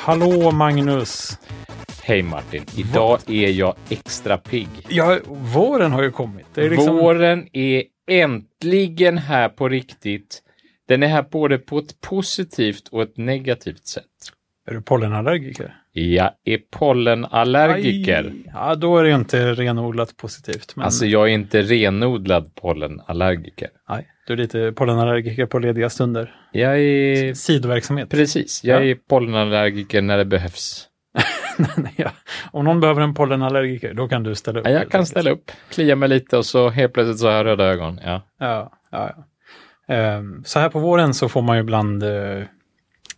Hallå Magnus! Hej Martin! Idag är jag extra pigg. Ja, våren har ju kommit. Det är liksom... Våren är äntligen här på riktigt. Den är här både på ett positivt och ett negativt sätt. Är du pollenallergiker? Jag är pollenallergiker. Aj. Ja, då är det ju inte renodlat positivt. Men... Alltså, jag är inte renodlad pollenallergiker. Nej, du är lite pollenallergiker på lediga stunder. Jag är... Sidoverksamhet. Precis, jag Ja. är pollenallergiker när det behövs. Nej, ja. Om någon behöver en pollenallergiker, då kan du ställa upp. Ja, Jag helt kan enkelt. ställa upp, klia mig lite och så helt plötsligt så har jag röda ögon. Ja. Ja, ja, ja. Ehm, Så här på våren så får man ju ibland eh,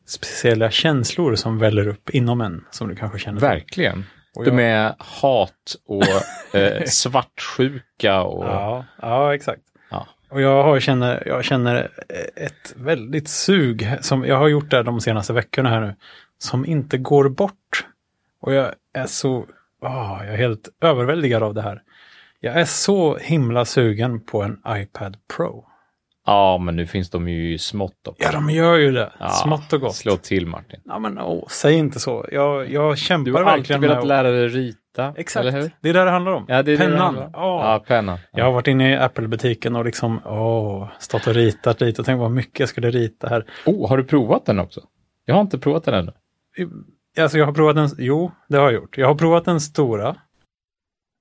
speciella känslor som väller upp inom en, som du kanske känner. till. Verkligen. Och jag- De är hat och eh, svartsjuka och... Ja, ja exakt. Ja. Och jag, har, känner, jag känner ett väldigt sug som jag har gjort det de senaste veckorna här nu, som inte går bort. Och jag är så, ah, jag är helt överväldigad av det här. Jag är så himla sugen på en iPad Pro. Ja, men nu finns de ju i smått. Och... Ja, de gör ju det. Ja, Smått och gott. Slå till Martin. Ja, men, åh, säg inte så. Jag, jag kämpar Du har alltid verkligen velat med... lära dig rita, Exakt, eller hur? det är det det handlar om. Ja, det är det det Pennan. handlar om. Åh. Ja, pennan. Jag har varit inne i Apple-butiken och liksom, åh, stått och ritat lite och tänkt vad mycket jag skulle rita här. Oh, har du provat den också? Jag har inte provat den ännu. Alltså jag har provat den, jo, det har jag gjort. Jag har provat den stora.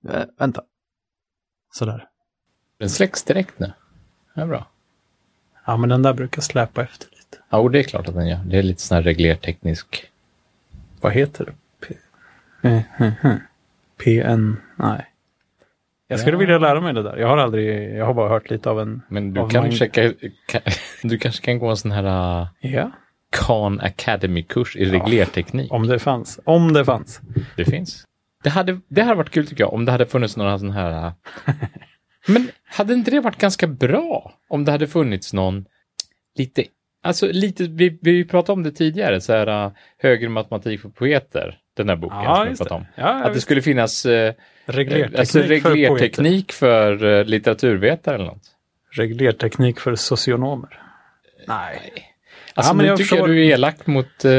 Eh, vänta. Sådär. Den släcks direkt nu. Det är bra. Ja, men den där brukar släpa efter lite. Ja, och det är klart att den gör. Det är lite sån här reglerteknisk. Vad heter det? P... Eh, eh, eh. PN? Nej. Jag skulle Ja. vilja lära mig det där. Jag har aldrig, jag har bara hört lite av en... Men du av kan Magn- checka, kan, du kanske kan gå en sån här uh, Ja, Khan Academy-kurs i reglerteknik. om det fanns. Om det fanns. Det finns. Det hade, det hade varit kul tycker jag om det hade funnits några sådana här... äh, Men hade inte det varit ganska bra om det hade funnits någon lite... Alltså lite, vi, vi pratade om det tidigare, så här äh, högre matematik för poeter, den här boken som vi pratade om. Ja, Att det skulle finnas äh, reglerteknik, alltså, för poeter. reglerteknik för, äh, litteraturvetare eller något. reglerteknik för socionomer. Nej. Alltså Ja, men nu jag tycker förstår- jag du är elak mot äh,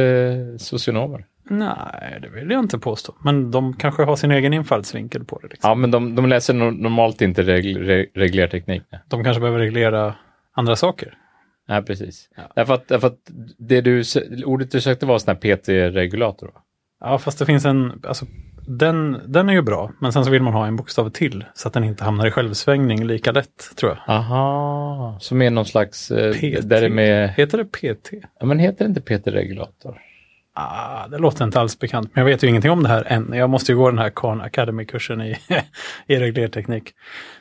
socionomer. Nej, det vill jag inte påstå. Men de kanske har sin egen infallsvinkel på det. Liksom. Ja, men de, de läser no- normalt inte reg, re, reglerteknik. Nej. De kanske behöver reglera andra saker. Nej, precis. Därför att, därför att det du, sö- ordet du sökte var sån här PT-regulator. va? Ja, fast det finns en... Alltså, den, den är ju bra, men sen så vill man ha en bokstav till så att den inte hamnar i självsvängning lika lätt, tror jag. Aha, som är någon slags... eh, PT. Där det är med, Heter det PT? ja, men heter det inte PT-regulator? Ah, det låter inte alls bekant, men jag vet ju ingenting om det här än. Jag måste ju gå den här Khan Academy-kursen i, i reglerteknik.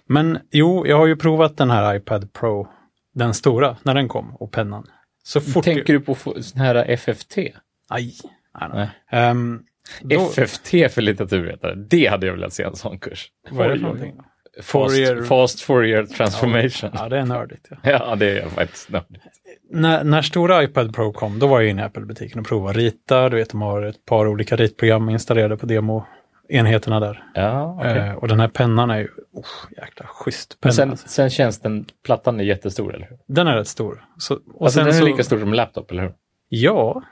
Men jo, jag har ju provat den här iPad Pro, den stora, när den kom, och pennan. Så fort... Tänker du på få- sån här FFT? Aj! Nej, nej. Nej. Ehm, då- FFT för litteraturvetare, det hade jag velat se en sån kurs. Vad är det för Oj, oj, oj. någonting? Fourier- Fast, fast Fourier transformation. Ja, Ja, det är nördigt. Ja. det är faktiskt nördigt. När, när stora iPad Pro kom, då var jag inne i Apple-butiken och provade att rita. Du vet, de har ett par olika ritprogram installerade på demo-enheterna där. Ja, okej. Eh, och den här pennan är ju, oh, jäkla schysst penna. Men sen, alltså. sen känns den, plattan är jättestor, eller hur? Den är rätt stor. Så, och Alltså, sen den är så, lika stor som en laptop, eller hur? Ja,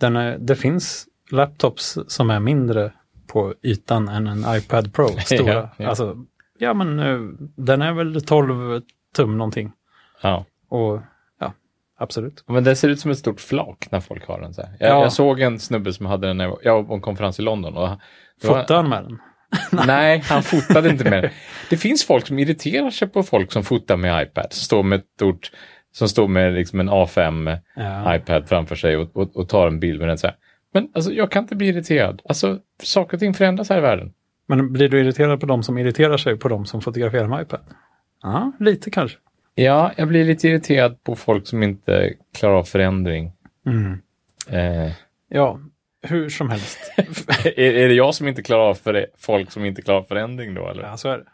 den är, det finns laptops som är mindre på ytan än en iPad Pro. Stora. Ja, ja. Alltså, ja, men eh, den är väl 12 tum någonting. Ja. Och ja, absolut. Men det ser ut som ett stort flak när folk har den så här. Jag, Ja. jag såg en snubbe som hade den när jag var- jag var på en konferens i London. Och, det var- Fotade han med den? Nej, han fotade inte med den. Det finns folk som irriterar sig på folk som fotar med iPad, som står med, ett stort, som står med liksom en Ja. A5-iPad framför sig och, och, och tar en bild med den så här. Men alltså, jag kan inte bli irriterad. Alltså, saker och ting förändras här i världen. Men blir du irriterad på de som irriterar sig på de som fotograferar med iPad? Ja, lite kanske. Ja, jag blir lite irriterad på folk som inte klarar av förändring. Eh, Ja, hur som helst. är, är det jag som inte klarar av för, folk som inte klarar av förändring då? Eller? ja, så är det.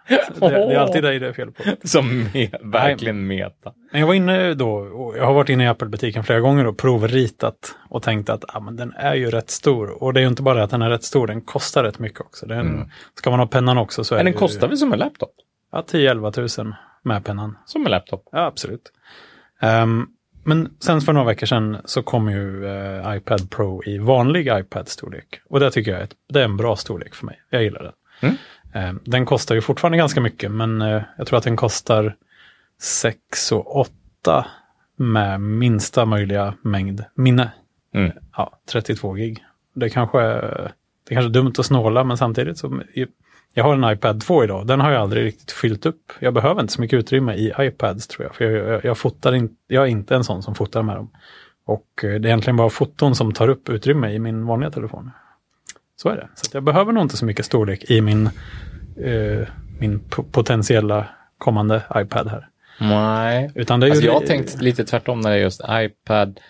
det. Det är alltid dig det är fel på. Som me- verkligen meta. Men jag var inne då, och jag har varit inne i Apple-butiken flera gånger och provritat och tänkt att ah, men den är ju rätt stor. Och det är ju inte bara att den är rätt stor, den kostar rätt mycket också. Den, Ska man ha pennan också så är Mm. Men den det kostar ju, väl som en laptop? ja, 10-11 tusen med pennan. Som en laptop. Ja, absolut. Ehm, Men sen för några veckor sedan så kom ju eh, iPad Pro i vanlig iPad-storlek. Och det tycker jag är, ett, det är en bra storlek för mig. Jag gillar den. Mm. Eh, den kostar ju fortfarande ganska mycket, men eh, jag tror att den kostar 6 och 8 med minsta möjliga mängd minne. Mm. Ja, 32 gig. Det kanske, är- det kanske är dumt att snåla, men samtidigt så... Jag har en iPad 2 idag. Den har jag aldrig riktigt fyllt upp. Jag behöver inte så mycket utrymme i iPads tror jag. För jag, jag, jag, fotar in, jag är inte en sån som fotar med dem. Och eh, det är egentligen bara foton som tar upp utrymme i min vanliga telefon. Så är det. Så att jag behöver nog inte så mycket storlek i min, eh, min po- potentiella kommande iPad här. Nej. Utan det är Alltså, ju jag har tänkt lite tvärtom när det är just iPad.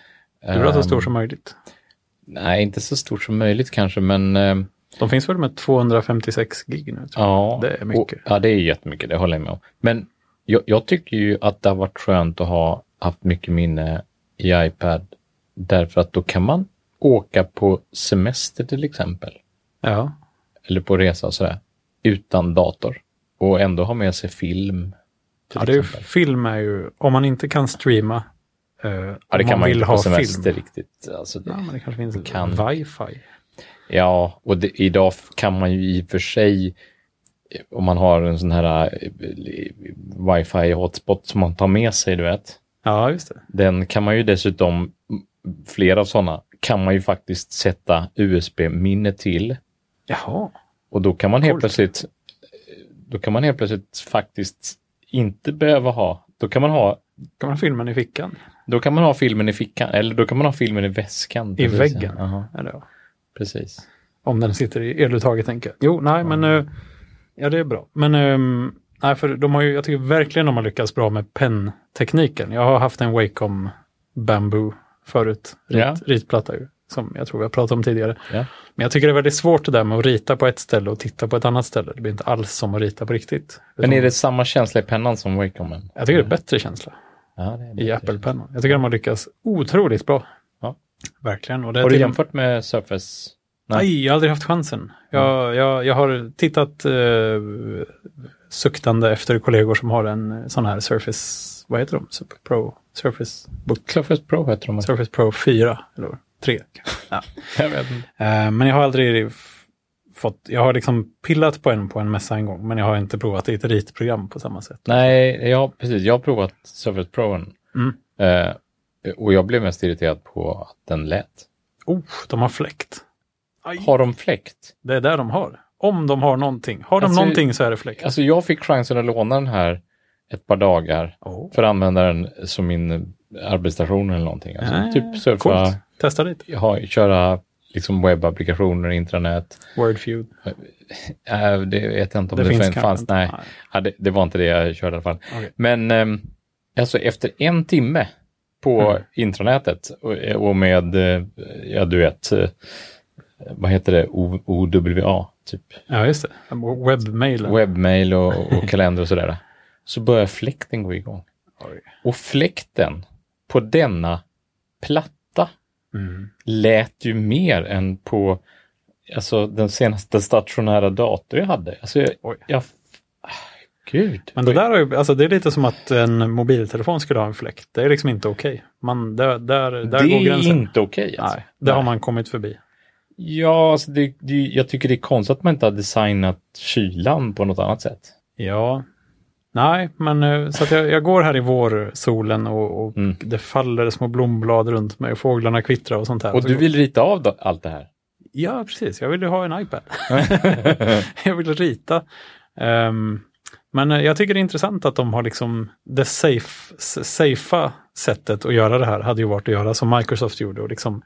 du vill ha så Ehm, stor som möjligt. Nej, inte så stort som möjligt kanske, men ehm, De finns väl med 256 gig nu? Tror jag. ja. Det är mycket. Och, ja, det är jättemycket, det håller jag med om. Men jag, jag tycker ju att det har varit skönt att ha haft mycket minne i iPad, därför att då kan man åka på semester till exempel. Ja. eller på resa och sådär, utan dator och ändå ha med sig film. till Ja, det är ju, exempel. film är ju, om man inte kan streama, eh, ja, det om kan man vill inte på ha semester film. riktigt. Alltså, Ja, det, men det kanske finns Kan. wifi. ja, och det, idag f- kan man ju i och för sig, eh, om man har en sån här eh, wifi hotspot som man tar med sig, du vet, Ja, just det. den kan man ju dessutom, m- flera av sådana, kan man ju faktiskt sätta USB-minne till Jaha. och då kan man helt Coolt. plötsligt, eh, då kan man helt plötsligt faktiskt inte behöva ha, då kan man ha Kan man ha filmen i fickan? Då kan man ha filmen i fickan, eller då kan man ha filmen i väskan. I precis. väggen. Jaha, Eller, ja. precis. om den sitter i eluttaget, tänker jag. Jo, nej, men eh, ja, det är bra. Men eh, nej, för de har ju, jag tycker verkligen de har lyckats bra med penntekniken. Jag har haft en Wacom Bamboo förut, rit, Ja. ritplatta ju, som jag tror vi har pratat om tidigare. Ja. Men jag tycker det är väldigt svårt det där med att rita på ett ställe och titta på ett annat ställe. Det blir inte alls som att rita på riktigt. Men Utan är det samma känsla i pennan som Wacomen? Jag tycker det är bättre känsla Ja, det är det. i Apple-pennan. Jag tycker de har lyckats otroligt bra. Ja. Verkligen. Och det är Har du till- jämfört med Surface? Nej. Nej, jag har aldrig haft chansen. Jag, jag, jag har tittat eh, suktande efter kollegor som har en eh, sån här Surface, vad heter de? Super Pro, Surface, Surface Pro heter de. Surface Pro 4 eller 3. Ja. Jag vet inte. Eh, men jag har aldrig f- fått, jag har liksom pillat på en på en mässa en gång, men jag har inte provat i ett ritprogram på samma sätt. Nej, ja, precis. Jag har provat Surface Pro. Mm. Eh, och jag blev mest irriterad på att den lät. Oh, de har fläkt. Har de fläkt? Det är där de har. Om de har någonting. Har de Alltså- någonting så är det fläkt. Alltså jag fick chansen att låna den här ett par dagar oh. för att använda den som min arbetsstation eller någonting. Alltså, Ja, typ surfa. Ah, Coolt. Testa lite. ha, köra liksom webbapplikationer, intranät. Wordfeud. Äh, det vet jag inte om Det det, finns finns kanske fanns. inte. Nej, Nej. Ja, det, det var inte det jag körde i alla fall. Okej. Men ehm, alltså efter en timme på Mm. intranätet och, och med, eh, ja du vet, eh, vad heter det, O- OWA, typ Ja, just det. Webbmailen. webbmail och, och kalender och sådär, så börjar fläkten gå igång. Oj. Och fläkten på denna platta Mm. lät ju mer än på alltså, den senaste stationära dator jag hade. Alltså, jag, Oj. jag, ah, gud. Men det där har ju, alltså det är lite som att en mobiltelefon skulle ha en fläkt. Det är liksom inte okej. Man, där där, där det går är gränsen. inte okej. alltså. Nej, det har Nej. man kommit förbi. Ja, alltså, det, det, jag tycker det är konstigt att man inte har designat kylan på något annat sätt. Ja. Nej, men eh, så att jag, jag går här i vårsolen och, och Mm. det faller små blomblad runt mig och fåglarna kvittrar och sånt här. Och Så du går- vill rita av då, allt det här? Ja, precis. Jag ville ha en iPad. jag ville rita. Ehm, men eh, jag tycker det är intressant att de har liksom det safe, s- safea sättet att göra det här hade ju varit att göra som Microsoft gjorde och liksom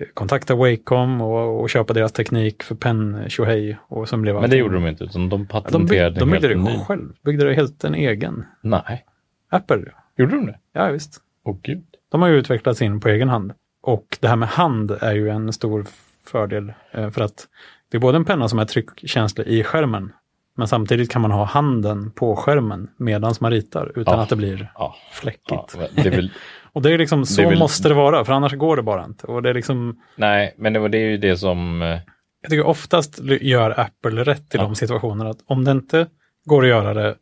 eh, kontakta Wacom och, och köpa deras teknik för penn tjohej och som blev Men det gjorde de inte, utan de De, bygg, patenterade de byggde en det helt ny. själv, byggde det helt en egen. Nej, Apple, gjorde de det? ja visst. Åh gud. De har ju utvecklat sin på egen hand. Och det här med hand är ju en stor fördel eh, för att det är både en penna som är tryckkänslig i skärmen, men samtidigt kan man ha handen på skärmen medan man ritar utan Ja. att det blir Ja, ja, fläckigt. det är väl Och det är liksom så är väl- måste det vara, för annars går det bara inte. Och det är liksom, Nej, men det, var- det är ju det som... eh, jag tycker oftast gör Apple rätt i Ja. de situationerna, att om det inte går att göra det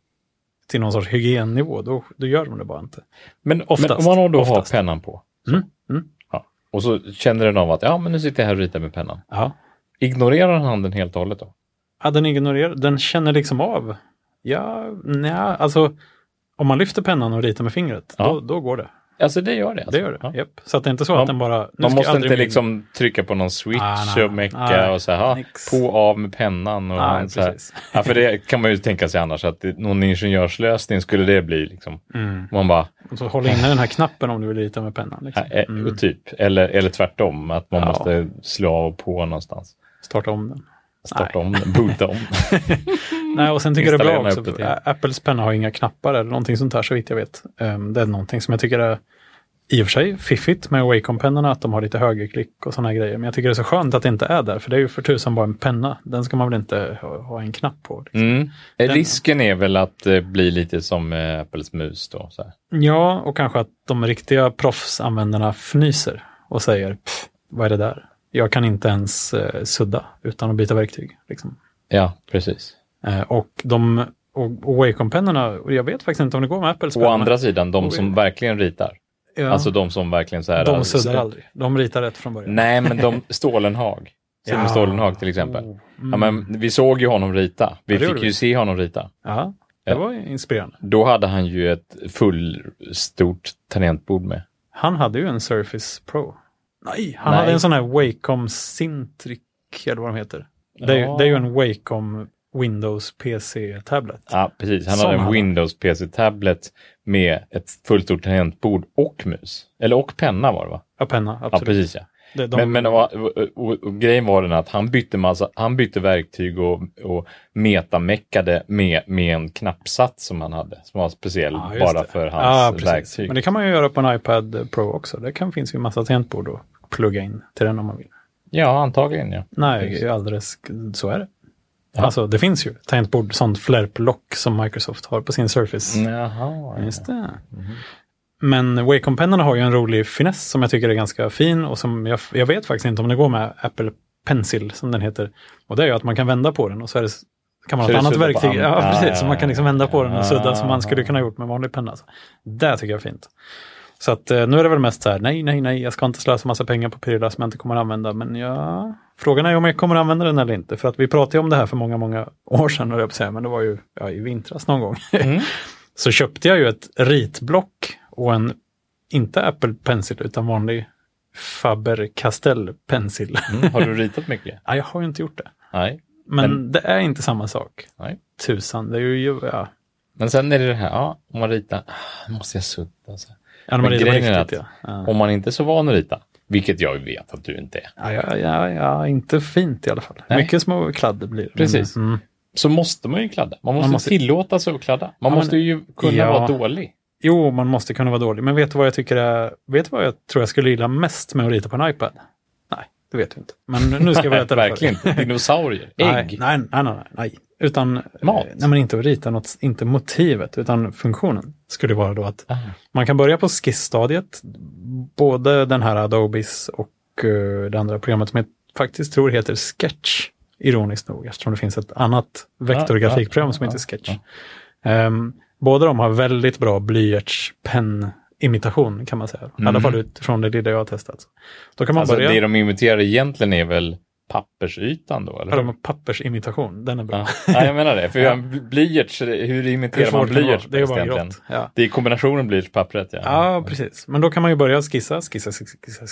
till någon sorts hygiennivå, då, då gör de det bara inte. Men, men Oftast. om man då Oftast. har pennan på Mm. Mm. och så känner den av att ja, men nu sitter jag här och ritar med pennan. Ja. Ignorerar han den helt och hållet då? ja, den ignorerar, den känner liksom av. Ja, nej, alltså om man lyfter pennan och ritar med fingret, Ja. då, då går det. Alltså det gör det? Alltså. Det gör det. Ja. Japp. Så att det är inte så Man- att den bara... nu Man ska måste jag aldrig inte bli- liksom trycka på någon switch Ah, nej, och mecka nej, och så här, "Ha, nix." Ah, på och av med pennan. Och Nej, så här. precis. Ja, för det kan man ju tänka sig annars att det, någon ingenjörslösning skulle det bli. Liksom. Mm. Man bara, Och så håll inne den här knappen om du vill rita med pennan. Liksom. äh, Mm. typ. Eller, eller tvärtom, att man Ja. måste slå av och på någonstans. Starta om den. Starta om den, boota om. Nej, och sen tycker jag det är bra också. Installera den här för Ä- Apples penna har inga knappar eller någonting sånt där så vitt jag vet. Ehm, det är någonting som jag tycker är i och för sig fiffigt med Wacom-pennorna, att de har lite högerklick och sådana grejer. Men jag tycker det är så skönt att det inte är där, för det är ju för tusan bara en penna. Den ska man väl inte ha, ha en knapp på. Liksom. Mm. Risken är väl att eh, bli lite som eh, Apples mus då. Så här. Ja, och kanske att de riktiga proffsanvändarna fnyser och säger "Pff, vad är det där? Jag kan inte ens eh, sudda utan att byta verktyg. Liksom. Ja, precis. Eh, och de och, och Wacom-pennorna, och jag vet faktiskt inte om det går med Apples Å andra sidan, de som verkligen ritar. ja. Alltså de som verkligen så här. De suddar aldrig. De ritar rätt från början. Nej, men de, Stålenhag. Simon Ja. Stålenhag till exempel. Mm. Ja, men vi såg ju honom rita. Vi Ja, det gjorde fick ju vi. se honom rita. Ja, Ja. det var inspirerande. Då hade han ju ett full stort tangentbord med. Han hade ju en Surface Pro. Nej, han Nej. hade en sån här Wacom Sintric, eller vad de heter. Det, är, ju- Ja. det är ju en Wacom Windows PC-tablet. Ja, precis. Han Som hade en hade. Windows PC-tablet med ett fullt stort tangentbord och mus. Eller och penna var det va? Ja, penna, Ja, absolut. precis ja. Det- de- Men, men och, och, och, och grejen var den att han bytte, massa, han bytte verktyg och, och metameckade med, med en knappsats som han hade. Som var speciell Ja, just bara det. för Ja, hans precis. verktyg. Men det kan man ju göra på en iPad Pro också. Det kan, finns ju en massa tangentbord att plugga in till den om man vill. Ja, antagligen ja. Nej, Just. det är alldeles, så är det. Ja. Alltså det finns ju tangentbord, sånt flärplock som Microsoft har på sin Surface. Jaha. ja. Just det. Mhm. Men Wacom-pennorna har ju en rolig finess som jag tycker är ganska fin och som jag, jag vet faktiskt inte om det går med Apple Pencil som den heter. Och det är ju att man kan vända på den och så är det, kan man Så ha ett du annat suddar på verktyg. handen? Ja, Ah, precis. ja, så man kan liksom vända på den och sudda som Ah. man skulle kunna ha gjort med vanlig penna. Så det tycker jag är fint. Så att eh, nu är det väl mest så här, nej, nej, nej, jag ska inte slösa massa pengar på prylar som jag inte kommer att använda. Men ja, frågan är ju om jag kommer att använda den eller inte. För att vi pratade ju om det här för många, många år sedan, höll jag på att säga, men det var ju ja, i vintras någon gång Mm. så köpte jag ju ett ritblock och en, inte Apple Pencil, utan vanlig Faber-Castell Pencil. Mm. Har du ritat mycket? ja, jag har ju inte gjort det. Nej. Men, Men- det är inte samma sak. Nej. Tusan, det är ju... Ja, Men sen är det det här, ja, om man ritar, ah, nu måste jag sudda. Så. här. ja när Men man ritar på grejen är riktigt, att- ja. Ja. Om man inte är så van att rita, vilket jag vet att du inte är, Ja, ja, ja, ja, inte fint i alla fall. Nej. Mycket små kladd blir det. Precis. Men, mm, så måste man ju kladda. Man måste, måste- tillåta sig att kladda. Man men- måste ju kunna Ja. vara dålig. jo, man måste kunna vara dålig. Men vet du vad jag tycker är, Vet du vad jag tror jag skulle gilla mest med att rita på en iPad? Nej, det vet du inte. Men nu ska jag berätta det för dig. Verkligen inte. Dinosaurier, ägg. Nej, nej, nej, nej, nej, nej. Utan, Mat. eh, Nej, men inte att rita något, inte motivet, utan funktionen skulle vara då att Ah. man kan börja på skissstadiet, både den här Adobes och eh, det andra programmet som jag faktiskt tror heter Sketch, ironiskt nog, eftersom det finns ett annat Ah, vektorgrafikprogram som heter Sketch. Ehm, båda de har väldigt bra blyertspenn-imitation kan man säga. I alla Mm. fall utifrån det lilla jag har testat. Då kan man Alltså, börja... det de imiterar egentligen är väl pappersytan då, eller? Ja, de har pappersimitation, den är bra. Ja. Nej, jag menar det. För en blyerts, hur Hur imiterar svårt man kan det vara? blyerts Det är ju bara egentligen? grått. Ja. Det är kombinationen blyertspappret, ja. Ja, precis. Men då kan man ju börja skissa, skissa, skissa,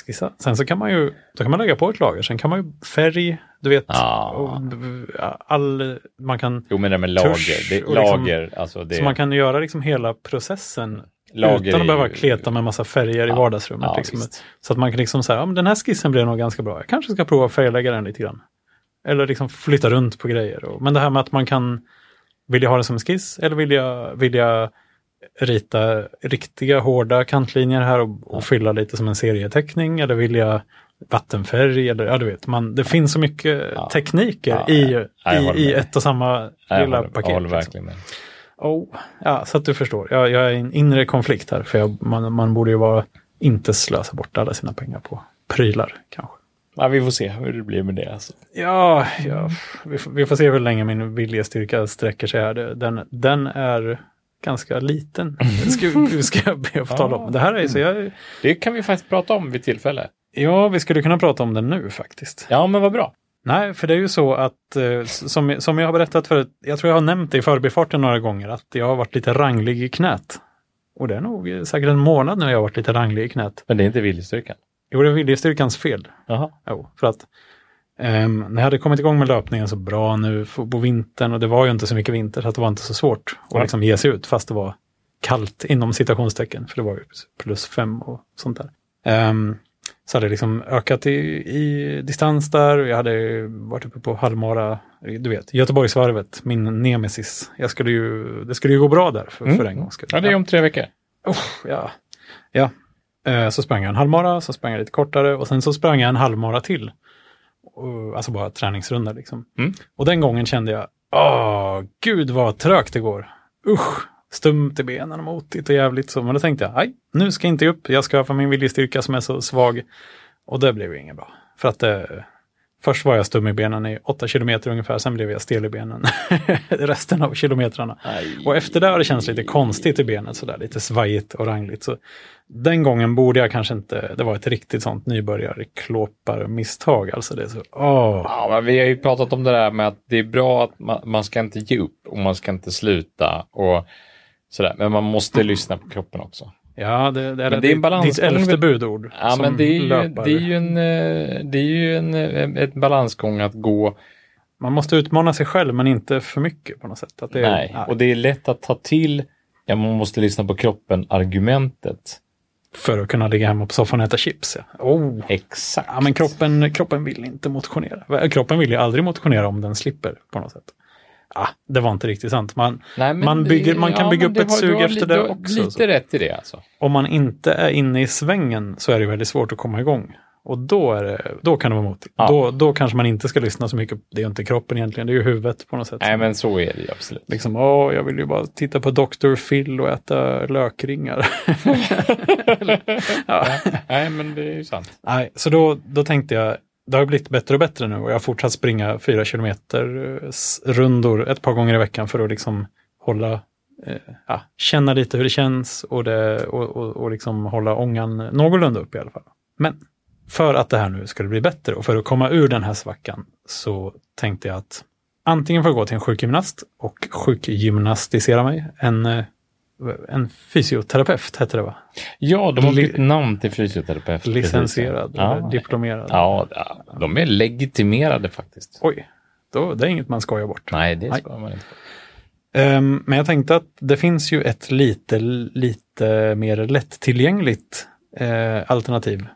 skissa. Sen så kan man ju, då kan man lägga på ett lager. Sen kan man ju färg, du vet, Ja. och b- b- all, man kan, Jo, men det med lager. Tusch Det, och liksom- lager, alltså det så man kan göra liksom hela processen lager utan är att behöva ju- kleta med massa färger i vardagsrummet. ja, liksom. visst. Så att man kan liksom säga, ja, men den här skissen blev nog ganska bra. Jag kanske ska prova att färglägga den lite grann. Eller liksom flytta runt på grejer. Och, men det här med att man kan, vill jag ha det som en skiss eller vill jag, vill jag rita riktiga hårda kantlinjer här och, och fylla lite som en serieteckning? Eller vill jag vattenfärg? Eller, ja, du vet, man, det finns så mycket Ja. tekniker Ja, i, jag håller med i, i dig. ett och samma Nej, jag lilla håller, paket. jag håller liksom. verkligen med. Oh, ja, så att du förstår. Jag, jag är i en inre konflikt här, för jag, man, man borde ju vara, inte slösa bort alla sina pengar på prylar kanske. Ja, vi får se hur det blir med det. Alltså. Ja, ja vi, får, vi får se hur länge min viljestyrka sträcker sig här. Det- Den, den är ganska liten. Det Ska, det ska jag be att få tala om. Det här är så jag, Det kan vi faktiskt prata om vid tillfälle. ja, vi skulle kunna prata om den nu faktiskt. Ja, men vad bra. Nej, för det är ju så att eh, som, som jag har berättat förut, jag tror jag har nämnt det i förbifarten några gånger, att jag har varit lite ranglig i knät. Och det är nog eh, säkert en månad nu jag har varit lite ranglig i knät. Men det är inte viljestyrkan. Jo, det är viljestyrkans fel. Jaha. Jo, för att ehm, när jag hade kommit igång med löpningen så bra nu f- på vintern och det var ju inte så mycket vinter så att det var inte så svårt att Nej. liksom ge sig ut fast det var kallt inom citationstecken för det var ju plus fem och sånt där. Ehm, så hade jag liksom ökat i, i distans där och jag hade ju varit uppe på halvmara, du vet, Göteborgsvarvet, min nemesis. Jag skulle ju, det skulle ju gå bra där för, Mm. för en gångs skull. Ja, det är om tre veckor. Usch, ja. ja. Eh, Så sprang jag en halvmara, så sprang jag lite kortare och sen så sprang jag en halvmara till. Och, Alltså bara träningsrunda liksom. Mm. Och den gången kände jag, åh, gud vad trögt det går. Usch, stumt i benen och motigt och jävligt så. Men då tänkte jag, aj, nu ska jag inte ge upp, jag ska öka min viljestyrka som är så svag. Och det blev ju inget bra. För att eh, först var jag stum i benen i åtta kilometer ungefär, sen blev jag stel i benen resten av kilometrarna. Och efter det har det känts lite konstigt i benet, sådär, lite svajigt och rangligt. Så den gången borde jag kanske inte, det var ett riktigt sånt nybörjarklåparmisstag. Alltså det är så, åh, Ja, men vi har ju pratat om det där med att det är bra att man, man ska inte ge upp och man ska inte sluta och sådär. Men man måste lyssna på kroppen också. ja det, det är, Men det är en balans- ditt elfte budord Ja, som men det är, ju, löpare. det är ju en, eh, det är ju en, eh, ett balansgång att gå. Man måste utmana sig själv men inte för mycket på något sätt. Att det är, Nej, och det är lätt att ta till, ja, man måste lyssna på kroppen, argumentet. För att kunna ligga hemma på soffan och äta chips. Ja. Oh. Exakt. Ja, men kroppen, kroppen vill inte motionera. Kroppen vill ju aldrig motionera om den slipper på något sätt. Ah, det var inte riktigt sant. Man, Nej, men man det- bygger- man kan ja, bygga men upp det ett har- du sug har li- efter det du har också, Lite så. rätt i det alltså. om man inte är inne i svängen så är det väldigt svårt att komma igång. Och då, är det, då kan det vara motigt. Ja. Då, då kanske man inte ska lyssna så mycket. Det är ju inte kroppen egentligen, det är ju huvudet på något sätt. Nej, men så är det ju absolut. Liksom, åh, jag vill ju bara titta på Dr. Phil och äta lökringar. ja. Nej, men det är ju sant. Nej, så då, då tänkte jag, det har blivit bättre och bättre nu och jag har fortsatt springa fyra kilometer eh, s- rundor ett par gånger i veckan för att liksom hålla, eh, ja, känna lite hur det känns och, det, och, och, och liksom hålla ångan någorlunda upp i alla fall. Men för att det här nu skulle bli bättre och för att komma ur den här svackan så tänkte jag att antingen får jag gå till en sjukgymnast och sjukgymnastisera mig, en, eh, en fysioterapeut heter det va? Ja, de har Li- bytt namn till fysioterapeut. Licensierad, Precis, ja. eller diplomerad. Ja, ja, de är legitimerade faktiskt. Oj, då, det är inget man skojar bort. Nej, det Nej. ska man inte. Ehm, men jag tänkte att det finns ju ett lite, lite mer lättillgängligt eh, alternativ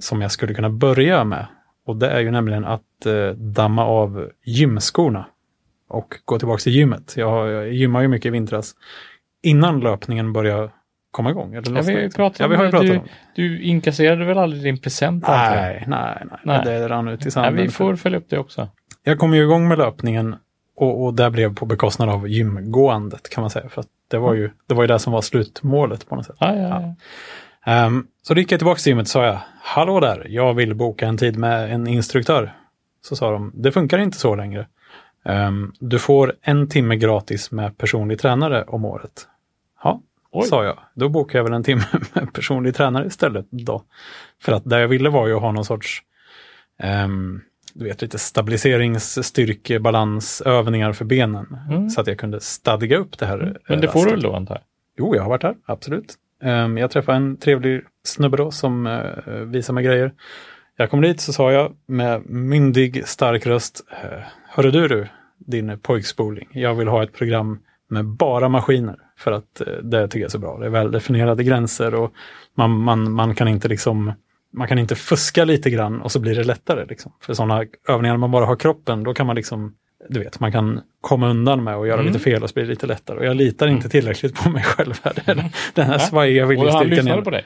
som jag skulle kunna börja med. Och det är ju nämligen att eh, damma av gymskorna och gå tillbaka till gymmet. Jag, har- jag gymmar ju mycket i vintras innan löpningen börjar komma igång. Eller Ja, vi har ju pratat ja, vi har ju om det. pratat om det. Du inkasserade väl aldrig din present? antar jag? Nej, nej, nej, Nej. Det rann ut i Nej, sanden. vi får följa upp det också. Jag kom ju igång med löpningen och, och det blev på bekostnad av gymgåendet kan man säga. För att det var ju det, var ju det som var slutmålet på något sätt. Ja, ja, ja. Ehm, så då gick jag tillbaka till gymmet och sa jag, hallå där, jag vill boka en tid med en instruktör. Så sa de, det funkar inte så längre. Ehm, du får en timme gratis med personlig tränare om året. Ja, Oj. sa jag. Då bokar jag väl en timme med personlig tränare istället då. För att det jag ville var ju att ha någon sorts ehm, du vet, lite stabiliseringsstyrkebalansövningar för benen. Mm. Så att jag kunde stadga upp det här. Men eh, det får du rastet. väl då, antar jag? Jo, jag har varit här, absolut. Ehm, jag träffade en trevlig snubbe då som eh, visade mig grejer. Jag kom dit så sa jag med myndig, stark röst. Uh, Hörru du, du, din pojkspoling. Jag vill ha ett program med bara maskiner. För att eh, det tycker jag är så bra. Det är väldefinierade gränser och man, man, man kan inte liksom man kan inte fuska lite grann och så blir det lättare. Liksom. För sådana övningar man bara har kroppen, då kan man liksom, du vet, man kan komma undan med och göra Mm. lite fel och så blir det lite lättare. Och jag litar inte tillräckligt på mig själv här. Den- Den här svajiga Och han viljestyrkan. lyssnade igen. på dig?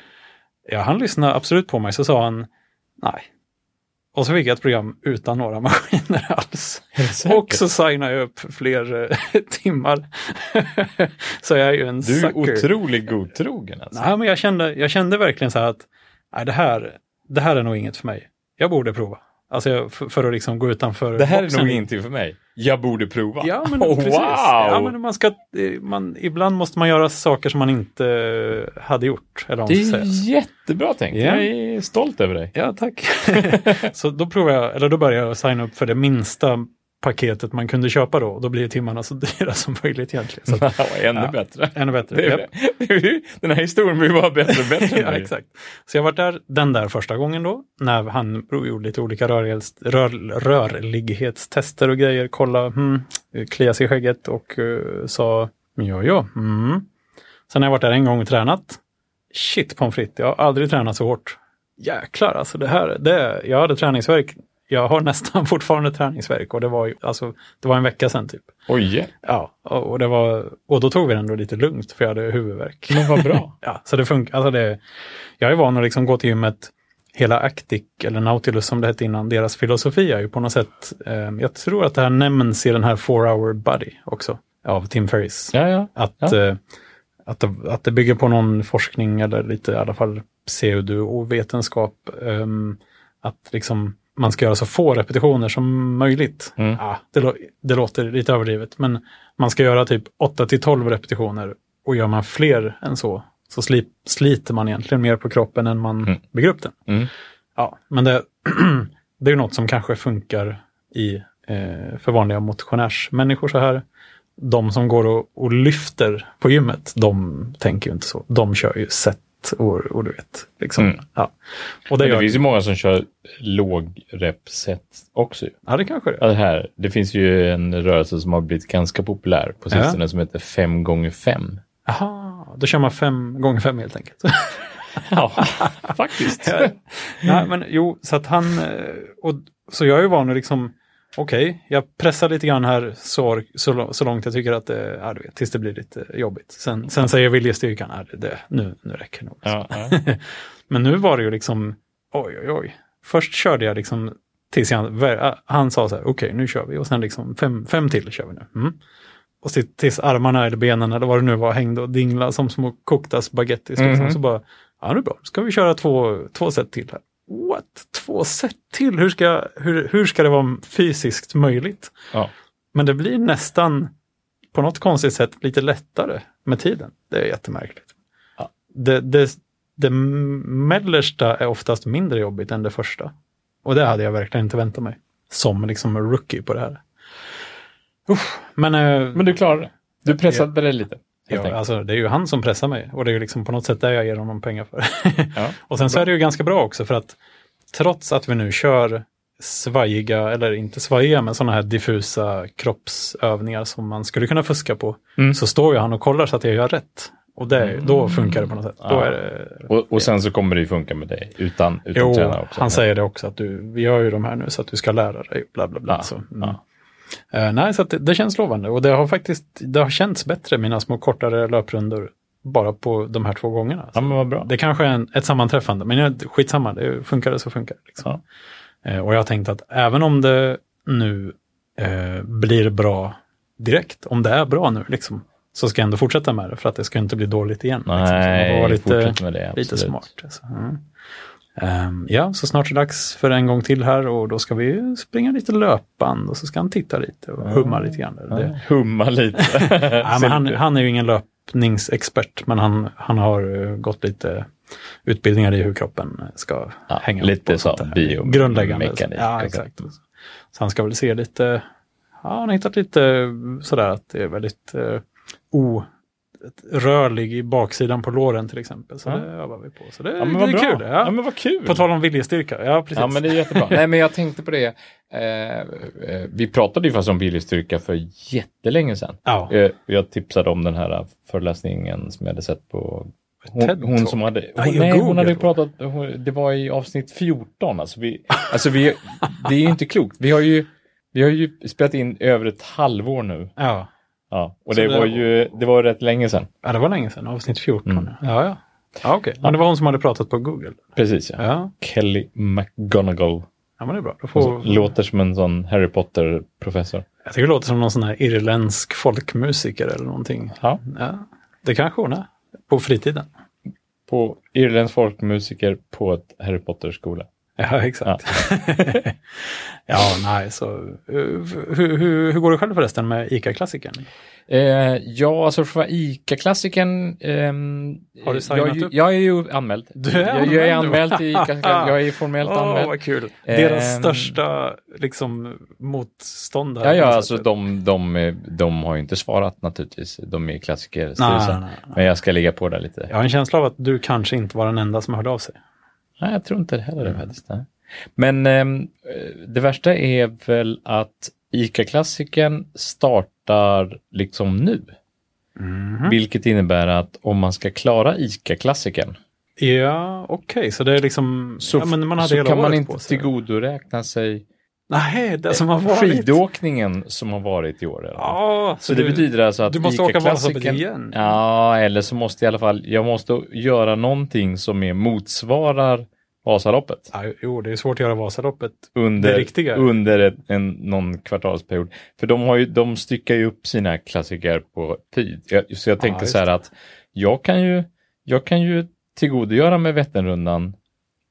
Ja, han lyssnade absolut på mig, så sa han nej. Och så fick jag ett program utan några maskiner alls. Och så signade jag upp för fler eh, timmar. så jag är ju en Du är sucker. otroligt godtrogen. Alltså. Nej, men jag kände, jag kände verkligen så här att nej, det, här, det här är nog inget för mig. Jag borde prova. Alltså jag, för, för att liksom gå utanför Det här är boxen. nog ingenting för mig. Jag borde prova. Ja, men oh, precis. Wow! Ja, men man ska, eh, man, ibland måste man göra saker som man inte eh, hade gjort. Eller vad det man ska är säga. jättebra tänkt. Ja. Jag är stolt över dig. Ja, tack. så då provar jag, eller då börjar jag signa upp för det minsta paketet man kunde köpa då. Då blir timmarna så dyra som möjligt egentligen. Så att, Ännu Ja. bättre. ännu bättre. Mm. Det är, Japp. det är, ju- den här historien blir bara bättre och bättre. Liksom. ja, exakt. Så jag var där den där första gången då, när han gjorde lite olika rörlighets, rör, rörlighetstester och grejer, kolla, hmm, klia sig i skägget och eh, sa ja, ja, mm. Sen har jag varit där en gång och tränat. Shit pommes frites, jag har aldrig tränat så hårt. Jäklar, alltså det här, det, jag hade träningsverk. Jag har nästan fortfarande träningsverk och det var, ju- alltså, det var en vecka sedan typ. Oj, Ja, och, och, det var, och då tog vi det ändå lite lugnt för jag hade huvudvärk. men vad bra. Ja, så det funkar. Alltså det, jag är van att liksom gå till gymmet. Hela Actic, eller Nautilus som det hette innan, deras filosofi är ju på något sätt, eh, jag tror att det här nämns i den här Four hour body också, av Tim Ferriss. Ja, ja. Att, Ja. eh, att, det, att det bygger på någon forskning eller lite i alla fall pseudovetenskap. ehm, att liksom man ska göra så få repetitioner som möjligt. Mm. Ja, det, lå- det låter lite överdrivet, men man ska göra typ 8 till 12 repetitioner och gör man fler än så så slip, sliter man egentligen mer på kroppen än man Mm. bygger upp den. Mm. Ja, men det, det är ju något som kanske funkar i, eh, för vanliga motionärsmänniskor så här de som går och, och lyfter på gymmet, de tänker ju inte så. De kör ju set och, och du vet. Liksom. Mm. Ja. Och det, Men det gör, finns ju många som kör lågrepset också. ju. ja, det kanske det Ja, är. Det, här, det finns ju en rörelse som har blivit ganska populär på Ja. sistone som heter 5 gånger 5 Aha, då kör man fem gånger fem helt enkelt. Ja, faktiskt. Ja. Nej, men jo, så att han, eh, och, så jag är ju van att liksom, okej, jag pressar lite grann här så, så, lång- så långt jag tycker att det, ja, du vet, tills det blir lite jobbigt. Sen, sen säger viljestyrkan, ja, det- det, nu, nu räcker det nog. Ja, ja. Men nu var det ju liksom, oj, oj, oj. Först körde jag liksom tills han, han sa så här, okej, nu kör vi. Och sen liksom fem, fem till kör vi nu. Mm. Och till- tills armarna eller benen eller vad det nu var hängde och dinglade som små kokta spagettis. Liksom. Mhm. Så bara, ja nu är det bra, nu ska vi köra två, två set till här. What? Två set till? Hur ska, jag- hur, hur ska det vara fysiskt möjligt? Ja. Men det blir nästan på något konstigt sätt lite lättare med tiden. Det är jättemärkligt. Ja. Det, det, det mellersta är oftast mindre jobbigt än det första. Och det hade jag verkligen inte väntat mig. Som liksom en rookie på det här. Uff, men eh, Men du klarade det. Du pressade dig lite. helt ja, enkelt. alltså, det är ju han som pressar mig och det är ju liksom på något sätt där jag ger honom pengar för. Ja. och sen så är det ju ganska bra också för att trots att vi nu kör svajiga, eller inte svajiga, men sådana här diffusa kroppsövningar som man skulle kunna fuska på, Mm. så står ju han och kollar så att jag gör rätt. Och det, är- då funkar det på något sätt. Då Ja. är det, Och, och sen så kommer det ju funka med dig utan, utan Jo, tränare också. han säger det också, att du, vi gör ju de här nu så att du ska lära dig. Bla, bla, bla. Ja, Så, mm. ja. Eh, nej, så att det, det känns lovande och det har faktiskt det har känts bättre, mina små kortare löprundor, bara på de här två gångerna. Ja, men vad bra. Det kanske är en, ett sammanträffande, men jag- skitsamma, det funkar det så funkar det. Liksom. Eh, och jag har tänkt att även om det nu eh, blir bra direkt, om det är bra nu, liksom, så ska jag ändå fortsätta med det för att det ska inte bli dåligt igen. liksom. Så man får Nej, vara fortsätt med det. Lite absolut. smart. Alltså. Mm. Ehm, ja, så snart är det dags för en gång till här och då ska vi springa lite löpband och så ska han titta lite och humma lite grann. Där. Det, Ja, Humma lite. ja, men han, han är ju ingen löpningsexpert, men han, han har eh, gått lite utbildningar i hur kroppen eh, ska Ja, hänga lite ihop och sånt så, där. bio- Grundläggande. mekanik ja, och exakt. sånt. Så han ska väl se lite, ja, han har hittat lite eh, sådär att det är väldigt eh, orörlig i baksidan på låren till exempel. Så Ja. det övar vi på. Så det, Ja, men det är vad bra. kul. Ja. Ja, men vad kul. På tal om viljestyrka, ja precis. Ja, men det är jättebra. Nej, men jag tänkte på det. Eh, eh, vi pratade ju faktiskt om viljestyrka för jättelänge sedan. Ja. Eh, jag tipsade om den här eh, föreläsningen som jag hade sett på TED hon, hon Talk. som hade... Ja, Hon, i nej, hon Google. hade ju pratat... Hon, det var i avsnitt 14. Alltså, vi, alltså vi, det är ju inte klokt. Vi har ju, vi har ju spelat in över ett halvår nu. ja. Ja, och Så det, det- var ju det var rätt länge sedan. ja, det var länge sedan, avsnitt 14. Mm. Ja, ja. ja okej. Men det var hon som hade pratat på Google. Precis, ja. Ja, Kelly McGonagall. ja men det är bra. Då Hon får, låter som en sån Harry Potter-professor. jag tycker det låter som någon sån här irländsk folkmusiker eller någonting. Ja. Ja, det kanske hon är. På fritiden. på Irlands folkmusiker på ett Harry Potter-skola. Ja, exakt. Ja, nej, så eh, hur, hur, hur går det själv förresten med ICA-klassikern? Eh, ja, alltså själva ICA-klassikern... ehm, Har du signat jag, är ju- upp? Jag är ju anmäld. Du är jag, jag är anmäld, anmäld du. i ICA-klassikern. Jag är ju formellt anmäld. kul! Ehm, Deras största liksom, motståndare. Ja, på ja, något alltså sätt. de, de, eh, de har ju inte svarat naturligtvis. De är nej, nej, klassikerstyrelsen. nej. Men jag ska ligga på där lite. Jag har en känsla av att du kanske inte var den enda som hörde av sig. Nej, jag tror inte det heller faktiskt. nej. Men ehm, det värsta är väl att ICA-klassikern startar liksom nu. Mm. Vilket innebär att om man ska klara ICA-klassikern Ja, okej, så det är liksom... så, ja, men man hade så hela kan året man på inte Eh, sig. tillgodoräkna sig Nej, det som har varit. skidåkningen som har varit i år. eller? Ja, Så det betyder alltså att du måste åka ICA-klassikern- Vasaloppet igen. Ja, eller så måste jag i alla fall, jag måste göra någonting som är motsvarar Vasaloppet Ja, jo, det är svårt att göra Vasaloppet. Det under, riktiga. under ett, en, någon kvartalsperiod. För de, har ju, de styckar ju upp sina klassiker på tid. Jag, så jag tänkte just så här att jag kan ju, jag kan ju tillgodogöra mig Vätternrundan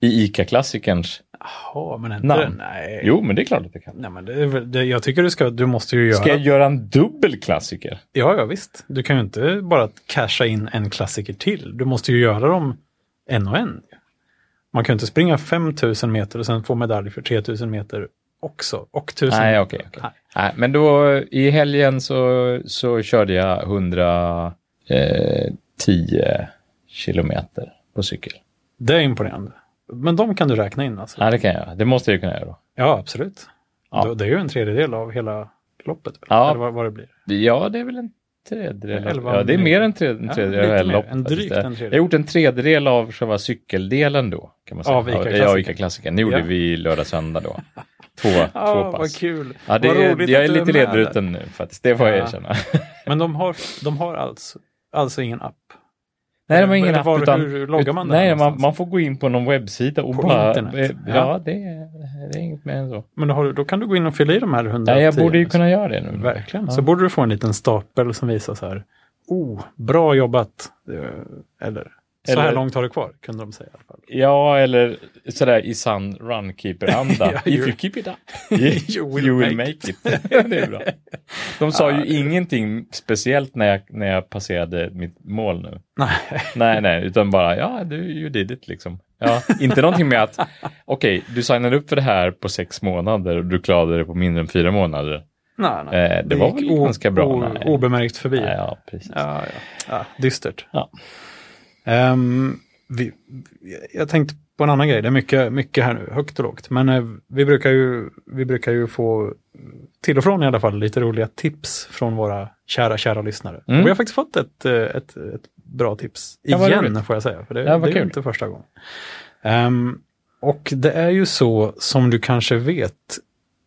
i ICA-klassikerns. Jaha, men inte Namn. Nej. Jo, men det är klart att jag kan. Nej, men det, är väl- det, jag tycker du ska, du måste ju göra... Ska jag göra en dubbel klassiker? Ja, ja, visst. Du kan ju inte bara casha in en klassiker till. Du måste ju göra dem en och en. Man kan ju inte springa 5000 meter och sen få medalj för 3000 meter också. Och 1000 Nej, meter. okej. okej. Nej. Nej, men då i helgen så, så körde jag 110 kilometer på cykel. Det är imponerande. Men de kan du räkna in alltså? Ja, det kan jag göra. Det måste jag ju kunna göra då. Ja, absolut. Ja. Det, det är ju en tredjedel av hela loppet. väl? Ja. Eller vad, vad det blir. Ja, det är väl en tredjedel. av- Elva ja, det är mer minuter. än tred- en Ja, tredjedel. lite av mer. lopp, En faktiskt. drygt en Jag tredjedel. har gjort en tredjedel av själva cykeldelen då. Kan man säga. Av ICA Ja, Klassiker. ICA-klassikern. Det gjorde Ja. vi lördag-söndag då. Två, Ja, två Ah, vad pass. kul. Ja, det, Vad är- roligt jag att är du är lite med där. ledruten nu faktiskt. Det får jag Ja. erkänna. Men de har, de har alltså, alltså ingen app? Nej, det var Men ingen app. var- utan, hur loggar man den nej, man, någonstans? man får gå in på någon webbsida och På bara... eh, internet? Ja, Ja. det, är, det är inget mer än så. Men då, har, du- då kan du gå in och fylla i de här 110. Nej, jag borde ju liksom. kunna göra det nu. Verkligen. Ja. Så borde du få en liten stapel som visar så här. Oh, bra jobbat. Det- Eller så här Eller- långt har du kvar, kunde de säga. i alla fall. Ja, eller sådär i sann runkeeper-anda. Ja, If you you- keep it up, You will you will make make it. det är bra. De sa ju ingenting speciellt när jag, när jag passerade mitt mål nu. Nej, Nej, nej, utan bara, ja, du you did it liksom. Ja, inte någonting med att, okej, du signade upp för det här på sex månader och du klarade det på mindre än fyra månader. nej, nej. Eh, det var gick väl ganska bra, nej. obemärkt förbi. Ja, ja precis. Ja, ja. ja, dystert. Ja. Ehm, vi, jag tänkte på en annan grej, det är mycket, mycket här nu, högt och lågt. Men eh, vi, brukar ju, vi brukar ju få, till och från i alla fall, lite roliga tips från våra kära, kära lyssnare. Mm. Och vi har faktiskt fått ett, eh, ett, ett bra tips Ja, vad igen, roligt. får jag säga. För det, Ja, vad det är ju kul. inte första gången. Ehm, och det är ju så, som du kanske vet,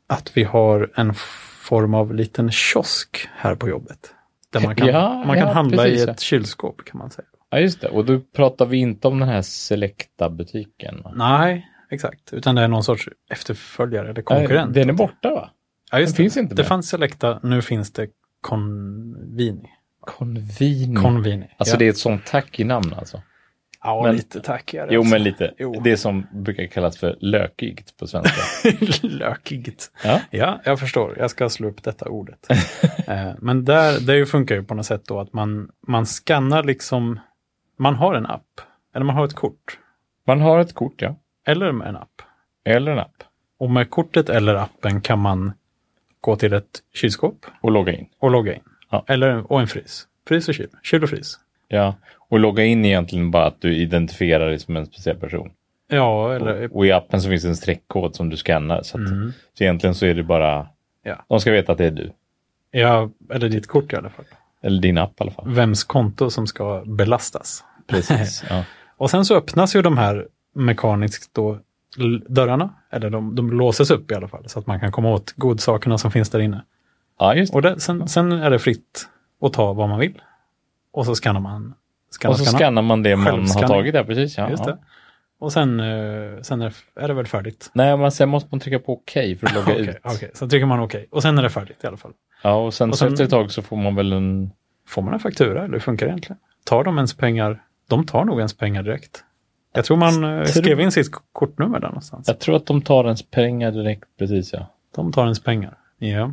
att vi har en form av liten kiosk här på jobbet. Där man kan, Ja, man kan ja, handla precis, i ja. ett kylskåp kan man säga. Ja, just det. Och då pratar vi inte om den här selekta butiken. va? Nej, exakt. Utan det är någon sorts efterföljare eller konkurrent. Den är borta va? ja, just den det. finns inte Det mer. fanns Selecta, nu finns det Convini. Konvin. Convini. Alltså ja. det är ett sånt tack i namn alltså. ja, men- lite tackigare. Jo, alltså. men lite. Jo. Det som brukar kallas för lökigt på svenska. Lökigt. Ja. Ja, jag förstår. Jag ska slå upp detta ordet. eh, men där, det ju funkar ju på något sätt då att man, man skannar liksom, man har en app, eller man har ett kort, Man har ett kort, ja. eller med en app. Eller en app. Och med kortet eller appen kan man gå till ett kylskåp Och logga in. och logga in. Ja. Eller, och en frys. Frys och kyl. Kyl och frys. Ja. Och logga in är egentligen bara att du identifierar dig som en speciell person. Ja, eller... Mm. Och i appen så finns det en streckkod som du skannar. Så, att, så egentligen så är det bara... Ja. De ska veta att det är du. Ja, eller ditt kort i alla fall. Eller din app i alla fall. Vems konto som ska belastas. Precis. Ja. Och sen så öppnas ju de här mekaniskt då l- dörrarna, eller de, de låses upp i alla fall, så att man kan komma åt godsakerna som finns där inne. ja, just det. Och det, sen, sen är det fritt att ta vad man vill. Och så skannar man. Skannar, Och så skannar man det man har Självskanning. tagit där, precis. Ja, Just ja. det. Och sen, eh, sen är, är det väl färdigt. Nej, men sen måste man trycka på OK för att logga Okej, ut. okej. sen trycker man okej. Och sen är det färdigt i alla fall. Ja, och sen, Och så sen- efter ett tag så får man väl en... Får man en faktura eller hur funkar det egentligen? Tar de ens pengar? De tar nog ens pengar direkt. Jag tror man eh, Tror- skrev in sitt k- kortnummer där någonstans. Jag tror att de tar ens pengar direkt, precis ja. De tar ens pengar. Ja.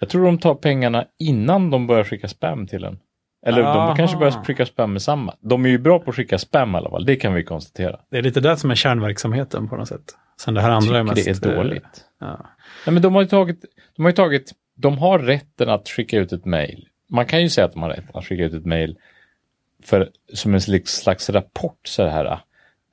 Jag tror de tar pengarna innan de börjar skicka spam till en. Eller Aha. de kanske börjar skicka spam med samma. De är ju bra på att skicka spam i alla fall, det kan vi konstatera. Det är lite det som är kärnverksamheten på något sätt. Sen det här andra är Tycker mest... det är eh, dåligt. Ja. Nej, men de har ju tagit, de har ju tagit, de har rätten att skicka ut ett mejl. Man kan ju säga att de har rätten att skicka ut ett mejl för, som en slags, slags rapport så här. ah,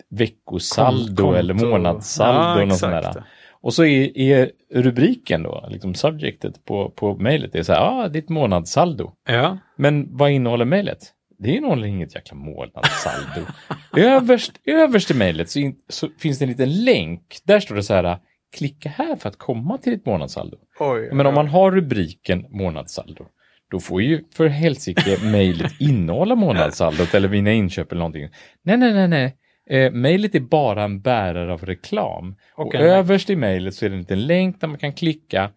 Veckosaldo konto. eller månadssaldo. Ja, och något sånt exakt. där. ah. Och så är, är rubriken då, liksom subjectet på, på mejlet, det är så här, ah, ditt månadssaldo. Ja, Men vad innehåller mejlet? Det innehåller inget jäkla månadssaldo. överst, överst i mejlet så, in, så finns det en liten länk. Där står det så här, klicka här för att komma till ditt månadssaldo. Oj, Men om man har rubriken månadssaldo, då får ju för helsike mejlet innehålla månadssaldot eller mina inköp eller någonting. Nej, nej, nej, nej. Eh, mejlet är bara en bärare av reklam. Och, Och en länk. överst i mejlet så är det en liten länk där man kan klicka.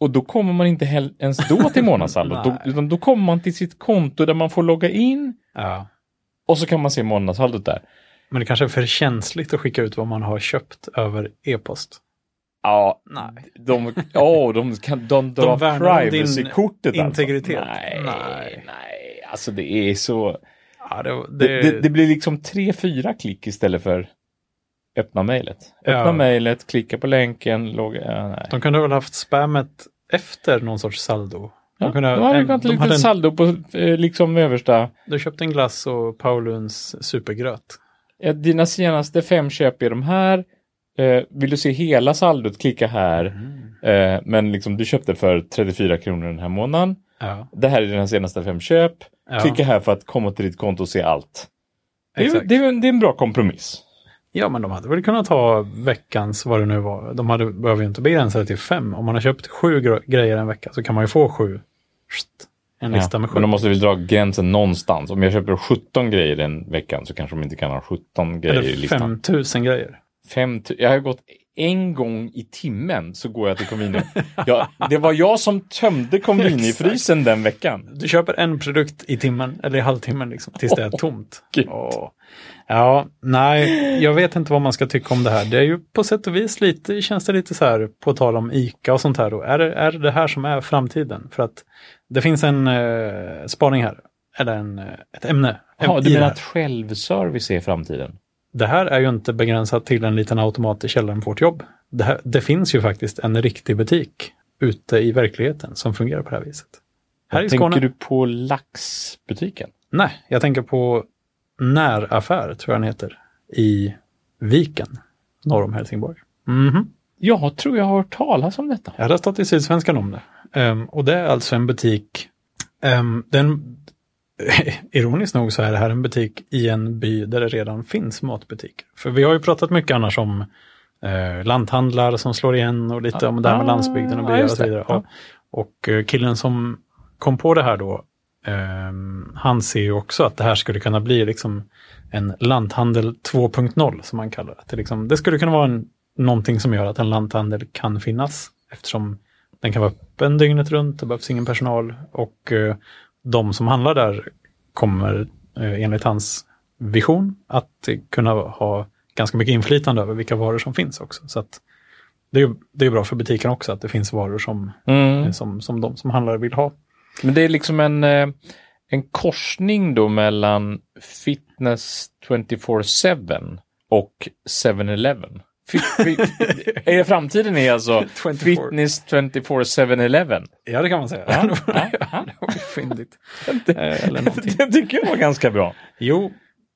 Och då kommer man inte hel- ens då till månadssaldot, då, Nej. utan då kommer man till sitt konto där man får logga in ja. och så kan man se månadssaldot där. Men det kanske är för känsligt att skicka ut vad man har köpt över e-post. Ja, Nej. de, oh, de, kan, de drar värnar om din privacy-kortet integritet. Alltså. Nej, nej, Nej. alltså det är så... Ja, det, det, Det, det, det blir liksom tre, fyra klick istället för öppna mejlet. Öppna Ja. mejlet, klicka på länken, logga... Ja, nej. De kunde väl haft spammet efter någon sorts saldo. De Ja, kunde ha- då hade en- vi gått de lite hade en- saldo på eh, liksom översta. Du köpte en glass och Pauluns supergröt. Ja, Eh, dina senaste fem köp är de här. Eh, vill du se hela saldot, klicka här. Eh, men liksom du köpte för 34 kronor den här månaden. Ja, Det här är dina senaste fem köp. ja, Klicka här för att komma till ditt konto och se allt. Det är, exakt. det, är, en- det är en bra kompromiss. ja, men de hade väl kunnat ta veckans, vad det nu var. De hade, behöver ju inte begränsa det till fem. Om man har köpt sju gre- grejer en vecka så kan man ju få sju. Sht, En lista med Ja, sju. Men de måste väl dra gränsen någonstans. Om jag köper 17 grejer den veckan så kanske de inte kan ha 17 grejer i Eller listan. 5000 grejer. Fem tu- jag har gått en gång i timmen så går jag till Convini. ja, det var jag som tömde Convini-frysen den veckan. Du köper en produkt i timmen, eller i halvtimmen, liksom, tills det är tomt. gud. Åh. Ja, nej, jag vet inte vad man ska tycka om det här. Det är ju på sätt och vis lite, känns det lite så här, på tal om ICA och sånt här då. Är det, är det det här som är framtiden? För att det finns en eh, spaning här, eller en, eh, ett ämne. Ja, i du det, menar här. att självservice är framtiden? det här är ju inte begränsat till en liten automat i källaren på vårt jobb. Det, här, det finns ju faktiskt en riktig butik ute i verkligheten som fungerar på det här viset. Här i Skåne. Tänker du på laxbutiken? Nej, jag tänker på Näraffär, tror jag den heter, i Viken, norr om Helsingborg. Mhm. Jag tror jag har hört talas om detta. Jag hade stått i Sydsvenskan om det. Ehm, och det är alltså en butik, ehm, den, ironiskt nog så är det här en butik i en by där det redan finns matbutiker. För vi har ju pratat mycket annars om eh, lanthandlar som slår igen och lite om det här med Ah, landsbygden och ja, byar och just så det. vidare. Ja. Ja. Och eh, killen som kom på det här då, ehm, han ser ju också att det här skulle kunna bli liksom en lanthandel 2.0 som man kallar det. det. är Liksom, det skulle kunna vara en, någonting som gör att en lanthandel kan finnas eftersom den kan vara öppen dygnet runt, det behövs ingen personal och eh, de som handlar där kommer eh, enligt hans vision att eh, kunna ha ganska mycket inflytande över vilka varor som finns också. Så att det är ju det är ju bra för butiken också att det finns varor som, Mm. som, som de som handlar vill ha. Men det är liksom en, eh, en korsning då mellan Fitness 24-7 och 7-Eleven. Fi- fi- Är framtiden är alltså 24. Fitness 24-7-Eleven? Ja, det kan man säga. Ja, det var- ja, ja. det var ju fyndigt. Eh, Eller någonting. Det tycker jag var ganska bra. Jo,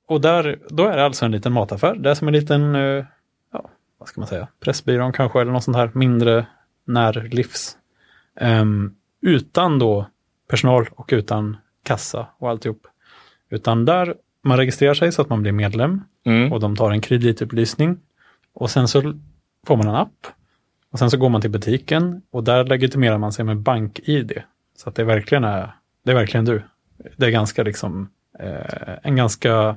och där, då är det alltså en liten mataffär. Det är som en liten, eh, ja, vad ska man säga, Pressbyrån kanske, eller något sånt här mindre närlivs. Ehm, utan då personal och utan kassa och alltihop. Utan där, man registrerar sig så att man blir medlem Mm. och de tar en kreditupplysning. Och sen så får man en app. Och sen så går man till butiken och där legitimerar man sig med bank-id. Så att det verkligen är, det är verkligen du. Det är ganska liksom, eh, en ganska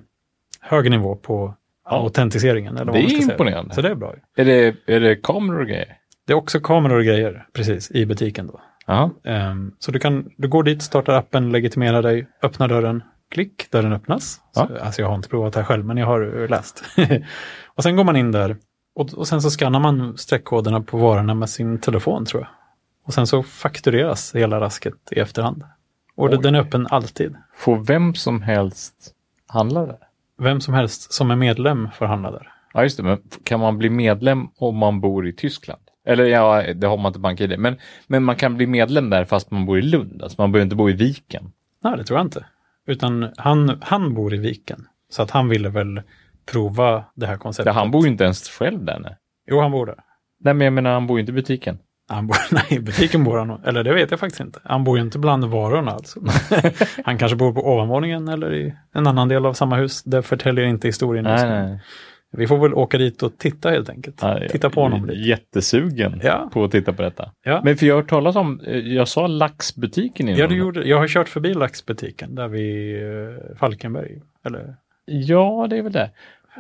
hög nivå på autentiseringen. Eller vad Det man ska är säga. imponerande. Så det är bra. ju. Är, det, är det kameror och grejer? Det är också kameror och grejer precis i butiken då. Ja. Ehm, så du, kan, du går dit, startar appen, legitimerar dig, öppnar dörren, klick, dörren öppnas. Ja. Så, alltså jag har inte provat det här själv, men jag har eh, läst. och sen går man in där och, och sen så skannar man streckkoderna på varorna med sin telefon tror jag. Och sen så faktureras hela rasket i efterhand. Och det, Oj. den är öppen alltid. Får vem som helst handla där? Vem som helst som är medlem får handla där. Ja, just det. Men kan man bli medlem om man bor i Tyskland? Eller ja, det har man inte bank-id. Men, men man kan bli medlem där fast man bor i Lund. Alltså man behöver inte bo i Viken. Nej, det tror jag inte. Utan han, han bor i Viken. Så att han ville väl prova det här Ja, konceptet. han bor ju inte ens själv där. Nej, Jo, han bor där. nej men jag menar, han bor ju inte i butiken. Han bor, nej, i butiken bor han nog. Eller det vet jag faktiskt inte. Han bor ju inte bland varorna alltså. han kanske bor på ovanvåningen eller i en annan del av samma hus. Det förtäljer inte historien just Nej, nu. nej. Vi får väl åka dit och titta helt enkelt. Ja, titta på jag är honom lite. Jättesugen Ja. på att titta på detta. Ja. Men för jag har hört talas om, eh, jag sa laxbutiken innan. Ja, du gjorde, jag har kört förbi laxbutiken där vid eh, Falkenberg. Eller Ja, det är väl det.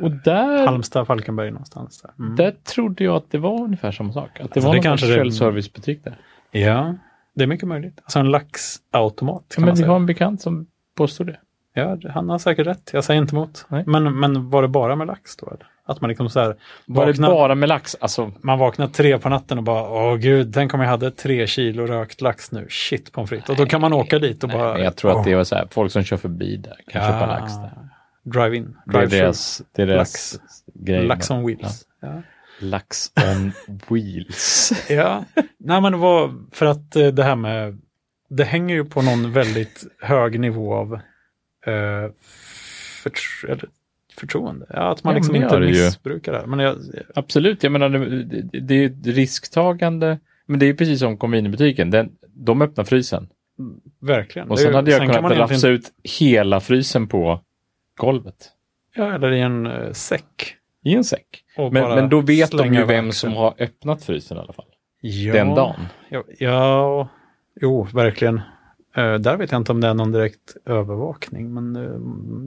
Och där, Halmstad, Falkenberg någonstans där. Mm. där trodde jag att det var ungefär samma sak. Att det Alltså, var det någon kanske sorts det- självservicebutik där. Ja, det är mycket möjligt. Alltså en laxautomat kan Men man vi säga. har en bekant som påstår det. Ja, han har säkert rätt. Jag säger inte emot. Nej. Men, men var det bara med lax då? eller? Att man liksom så här, Var det vaknar- bara med lax? Alltså, man vaknar tre på natten och bara, åh gud, tänk om jag hade tre kilo rökt lax nu. Shit pommes frites. Och då kan man åka dit och nej, bara... men jag tror att det åh, var så här, folk som kör förbi där kan köpa ja, lax där. Drive-in. Det är Drive-through. deras, det är deras grej. Lax on wheels. Ja. Lax on wheels. Ja, nej men det var för att eh, det här med, det hänger ju på någon väldigt hög nivå av eh, förtr- eller förtroende. Ja, att man Ja, liksom men det inte gör det ju. missbrukar det här. Men jag, Absolut, jag menar det, det- det är ju ett risktagande. Men det är ju precis som konvinbutiken. Den, de öppnar frysen verkligen. och Det är sen ju- liksom- hade jag kan man kunnat egentligen- rafsa ut hela frysen på golvet Ja, eller i en eh, säck. i en säck. och Men, bara men då vet de slänga ju över vem axeln. som har öppnat frysen i alla fall. ja, Den dagen. Ja, ja, jo, verkligen. Eh, där vet jag inte om det är någon direkt övervakning, men eh,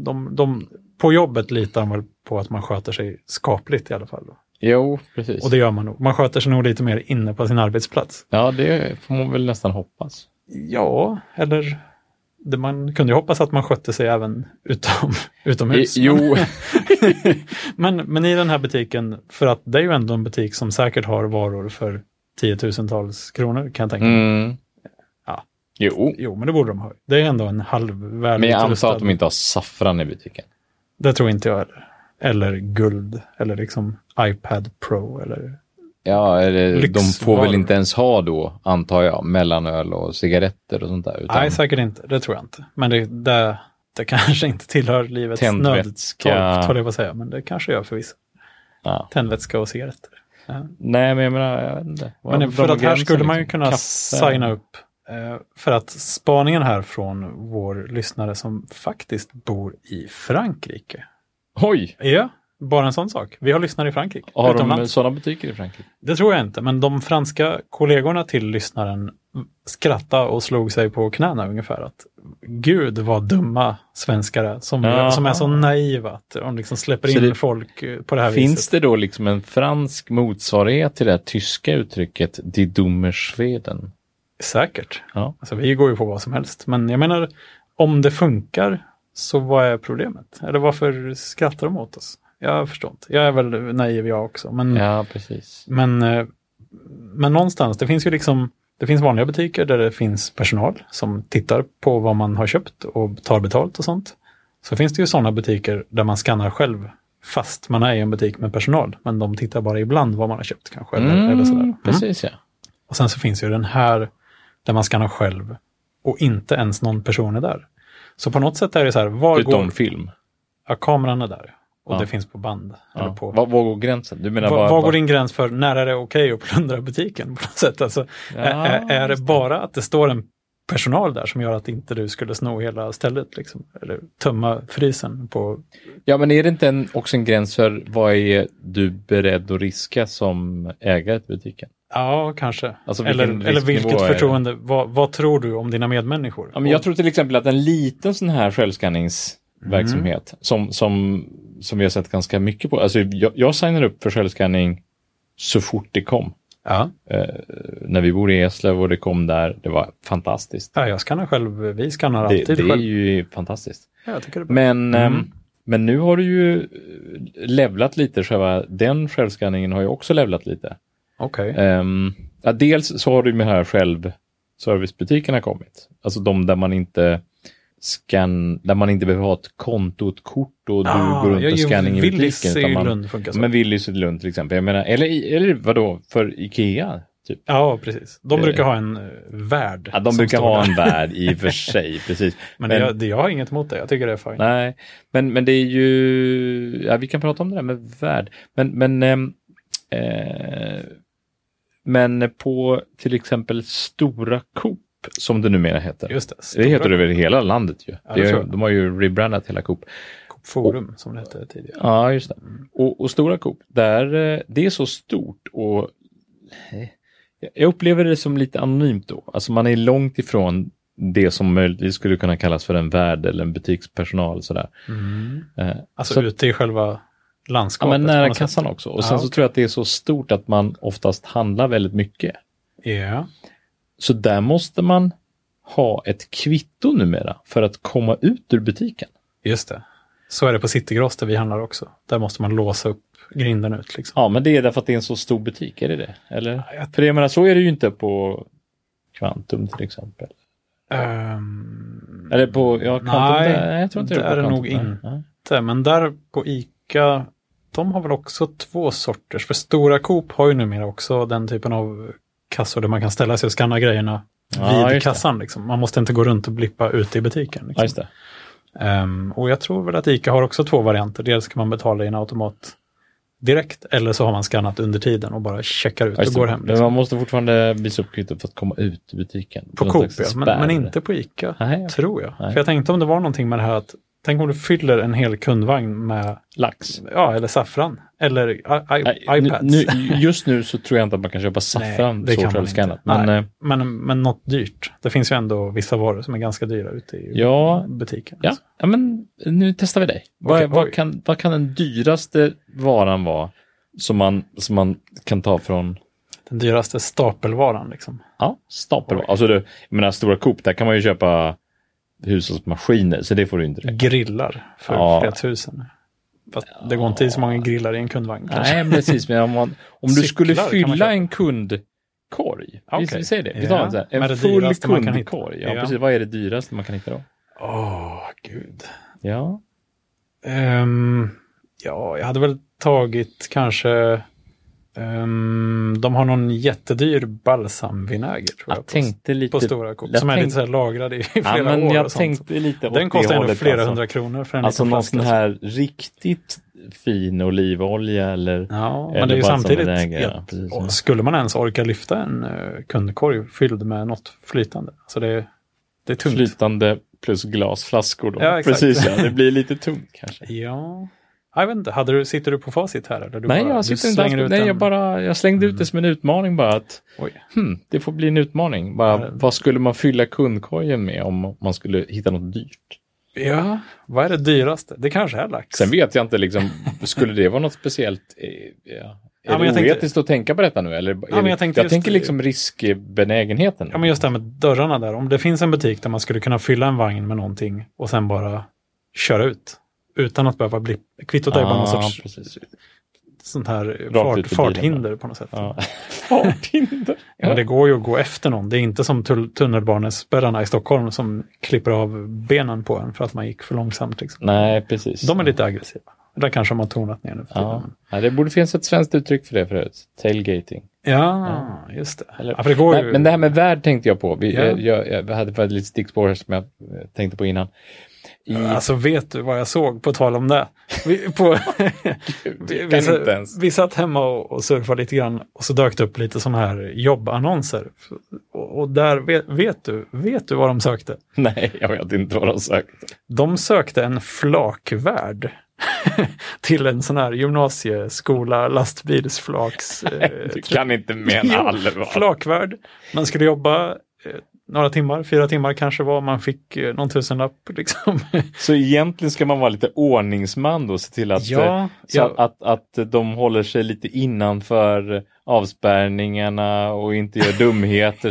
de, de, på jobbet litar de väl på att man sköter sig skapligt i alla fall. Då. Jo, precis. Och det gör man nog. Man sköter sig nog lite mer inne på sin arbetsplats. Ja, det får man väl nästan hoppas. Ja, eller det man kunde ju hoppas att man skötte sig även utom, I, utomhus. jo, Men, men i den här butiken, för att det är ju ändå en butik som säkert har varor för tiotusentals kronor kan jag tänka mig. mm. Ja. jo. Jo, men det borde de ha. Det är ändå en halvvärdig men jag antar att de inte har saffran i butiken. Det tror inte jag heller. Eller guld, eller liksom iPad Pro, eller Ja, eller, de Lyxvaror. får väl inte ens ha då, antar jag, mellanöl och cigaretter och sånt där. Utan Nej, säkert inte. Det tror jag inte. Men det, det, det kanske inte tillhör livets Tändvätska. nödtorft, håller jag på att säga. Men det kanske gör förvisso. Ja. Tändvätska och cigaretter. Nej, men jag menar, jag vet inte. Vad- Men för de att här gränsen, skulle man ju liksom. kunna Kaffe. signa upp. eh, För att spaningen här från vår lyssnare som faktiskt bor i Frankrike. Oj! Ja, bara en sån sak. Vi har lyssnare i Frankrike. Har de utomlands. sådana butiker i Frankrike? Det tror jag inte, men de franska kollegorna till lyssnaren skrattade och slog sig på knäna ungefär. Att, Gud vad dumma svenskar är som, Jaha. som är så naiva att de liksom släpper Så in det- folk eh, på det här Finns viset. det då liksom en fransk motsvarighet till det här tyska uttrycket Die dummer Schweden? Säkert. Ja. Alltså, vi går ju på vad som helst, men jag menar om det funkar så vad är problemet? Eller varför skrattar de åt oss? Jag förstår inte. Jag är väl naiv jag också, men Ja, precis. Men, eh, men någonstans, det finns ju liksom det finns vanliga butiker där det finns personal som tittar på vad man har köpt och tar betalt och sånt. Så finns det ju sådana butiker där man skannar själv fast man är i en butik med personal. Men de tittar bara ibland vad man har köpt kanske. Eller, eller sådär. Mm. Precis, ja. Och sen så finns ju den här där man skannar själv och inte ens någon person är där. Så på något sätt är det så här, var Utom går... film. Ja, kameran är där och Ja. det finns på band. Eller Ja. på Vad, vad går gränsen? Du menar Va- bara... Var går din gräns för när är det okej att plundra butiken? på något sätt? Alltså, Ja, är- är, är det just bara att det står en personal där som gör att inte du skulle sno hela stället? Liksom, eller tömma frysen på... Ja, men är det inte en, också en gräns för vad är du beredd att riska som ägare till butiken? Ja, kanske. Alltså, vilken eller, eller risknivå är vilket det? förtroende? Vad, vad tror du om dina medmänniskor? Ja, men jag tror till exempel att en liten sån här självskanningsverksamhet som, som, som vi har sett ganska mycket på. Alltså, jag, jag signade upp för självskanning så fort det kom. Ja. Eh, när vi bodde i Eslöv och det kom där, det var fantastiskt. ja, jag skannar själv. Vi skannar Det, alltid det är själv. ju fantastiskt. Ja, jag tycker det är bra. Men, Mm. ehm, men nu har du ju eh, levlat lite, själva, den självskanningen har ju också levlat lite. Okej. Ehm, ja, dels så har du med här självservicebutikerna kommit. Alltså de där man inte scan, där man inte behöver ha ett konto, ett kort och du går runt Ah, jag och gör scanning i Willys butiken. i utan man- Lund funkar så. Men Willys i Lund till exempel. Jag menar, eller, i- eller vadå, för Ikea? Typ. ja, precis. De Eh, brukar ha en eh, värd. Ja, de som brukar står ha där. en värld i och för sig, precis. Men, men- jag, det, jag har inget emot det. Jag tycker det är fint. Nej, men, men det är ju, ja, vi kan prata om det där med värld. Men, men, ehm, eh, men på till exempel Stora Coop, som det numera heter. Just det. det heter det väl i hela landet ju. Ja, det det är, tror jag. de har ju rebrandat hela Coop. Coop Forum som det hette tidigare. Ja, just det. Mm. Och, och Stora Coop, där, eh, det är så stort och eh, jag upplever det som lite anonymt då. Alltså man är långt ifrån det som möjligtvis skulle kunna kallas för en värd eller en butikspersonal. Sådär. Eh, Alltså Så- ute i själva Ja, landskapet. men på nära något kassan sätt. också. Och Ja, sen så okej. tror jag att det är så stort att man oftast handlar väldigt mycket. Ja. Så där måste man ha ett kvitto numera för att komma ut ur butiken. Just det. Så är det på Citygross där vi handlar också. Där måste man låsa upp grinden ut. Liksom. Ja, men det är därför att det är en så stor butik, är det det? Eller? jag- För jag menar, så är det ju inte på Kvantum till exempel. Ehm, Eller på, ja, Kvantum, Nej, nej, jag tror inte det, där på är det Kvantum, nog nej. inte. Nej. inte, men där på ICA, de har väl också två sorters. För stora Coop har ju numera också den typen av kassor där man kan ställa sig och skanna grejerna Ja, vid just det. kassan. Liksom. Man måste inte gå runt och blippa ute i butiken. Ja, Liksom. just det. Ehm, och jag tror väl att ICA har också två varianter. Dels kan man betala i en automat direkt eller så har man skannat under tiden och bara checkar ut Ja, just och det. går hem. Men Liksom. man måste fortfarande visa upp kvittot för att komma ut ur butiken. På Någon Coop, ja, slags men, spärr. men inte på ICA. Nej, Tror jag. Nej. För jag tänkte om det var någonting med det här att tänk om du fyller en hel kundvagn med, lax. ja, eller saffran, eller i, i, Nej, iPads. Nu, nu, just nu så tror jag inte att man kan köpa saffran Nej, det så kan man självskannat. inte. Men Nej. eh, Men, men något dyrt. Det finns ju ändå vissa varor som är ganska dyra ute i ja, butiken. ja, ja, men nu testar vi dig. Okej, vad, vad, oj. kan, vad kan den dyraste varan vara som man, som man kan ta från Den dyraste stapelvaran liksom. ja, stapel? Oj. Alltså du, jag menar stora Coop, där kan man ju köpa hushållsmaskiner, så det får du inte. direkt. Grillar för Ja. flera tusen. Fast det går inte i så många grillar i en kundvagn. kanske. Nej, precis. Men om, man, om du Cyklar skulle kan man fylla köpa. en kundkorg. Vi, Okej. vi säger det. Vi tar Ja. en, så här, Men en det full dyraste man kan hitta. kundkorg. Ja, Ja. Precis. Vad är det dyraste man kan hitta då? Åh, gud. Ja, Ehm, ja, jag hade väl tagit kanske... ehm, de har någon jättedyr balsamvinäger tror jag. jag på- tänkte lite... på stora kort. jag Som är lite tänkte- så här lagrad i flera ja, men år. jag och sånt. tänkte lite åt Den kostar det ändå hållet, flera alltså. hundra kronor för en Alltså liten någon flaska. sån här riktigt fin olivolja eller... Ja, eller men det är ju bara samtidigt, som en ägare, ja, ja, precis. och skulle man ens orka lyfta en eh, kundkorg fylld med något flytande? Alltså det, det är tungt. Flytande plus glasflaskor då. Ja, exakt. Precis, ja. Det blir lite tungt kanske. Ja, jag vet inte, hade du, sitter du på facit här? Eller du Nej, bara, jag du sitter inte alls slänger på, ut nej, en- jag bara, jag slängde ut det som en utmaning bara att Oj. hmm, det får bli en utmaning. Bara, Ja. vad skulle man fylla kundkorgen med om man skulle hitta något dyrt? Ja, vad är det dyraste? Det kanske är lax. Sen vet jag inte, liksom, skulle det vara något speciellt? eh, Ja. Är Ja, men det jag tänkte- oetiskt att tänka på detta nu? Eller, är men det- jag tänkte just- tänker liksom riskbenägenheten. Ja, men just det här med dörrarna där. Om det finns en butik där man skulle kunna fylla en vagn med någonting och sen bara köra ut. Utan att behöva bli... Kvittot är ju bara någon Ah, sorts precis. sånt här eh, ut ur fart, bilen farthinder på något sätt. Ja. Ja. Farthinder. Men det går ju att gå efter någon. Det är inte som tull- tunnelbanespärrarna i Stockholm som klipper av benen på en för att man gick för långsamt. Liksom. Nej, precis. De är lite aggressiva. Där kanske de har tonat ner nu för Ja. tiden. Ja, det borde finnas ett svenskt uttryck för det förut. Tailgating. Ja, just det. Ah. Eller- ja, för det går Nej, ju... men det här med värld tänkte jag på. Vi, eh, Ja. jag, jag, jag hade ett litet stickspår här som jag eh, tänkte på innan. I, Alltså vet du vad jag såg på tal om det? Vi, på, vi, kan vi, sa- inte ens. vi satt hemma och, och surfade lite grann och så dök det upp lite sådana här jobbannonser. Och, och där, vet, vet, du, vet du vad de sökte? nej, jag vet inte vad de sökte. De sökte en flakvärd till en sån här gymnasieskola lastbilsflaks... eh, Du kan inte mena Jo, allvar. flakvärd. Man skulle jobba eh, några timmar, fyra timmar kanske var man fick eh, någon tusenlapp. Liksom. Så egentligen ska man vara lite ordningsman då, se till att, eh, ja, så ja, att, att de håller sig lite innanför avspärrningarna och inte gör dumheter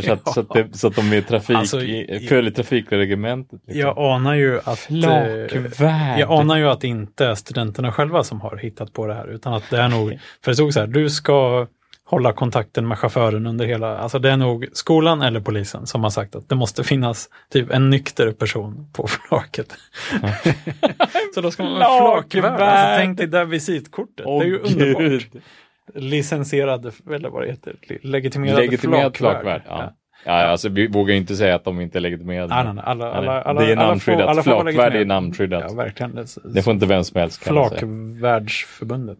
så, att, så, att det, så att de är trafik, Alltså, i- i- följer trafikreglementet. liksom. jag anar ju att eh, Flakvärd. Jag anar ju att det inte är studenterna själva som har hittat på det här, utan att det är nog, för det stod så här, du ska hålla kontakten med chauffören under hela, alltså det är nog skolan eller polisen som har sagt att det måste finnas typ en nykter person på flaket. så då ska man vara Flakvärd. flakvärd. Alltså, tänk dig det där visitkortet, Åh, det är ju underbart. Gud. Licensierad, eller vad det heter, le- legitimerad, Legitimerad flakvärd. Ja. Ja. Ja, alltså, vi vågar ju inte säga att de inte är legitimerade. Nej, nej, nej, alla, Nej, alla, alla, det är alla får- namnskyddat. alla får vara Flakvärd är legitimerade. namnskyddat. Ja, verkligen. Det, Det får inte vem som helst kalla sig. Flakvärdsförbundet.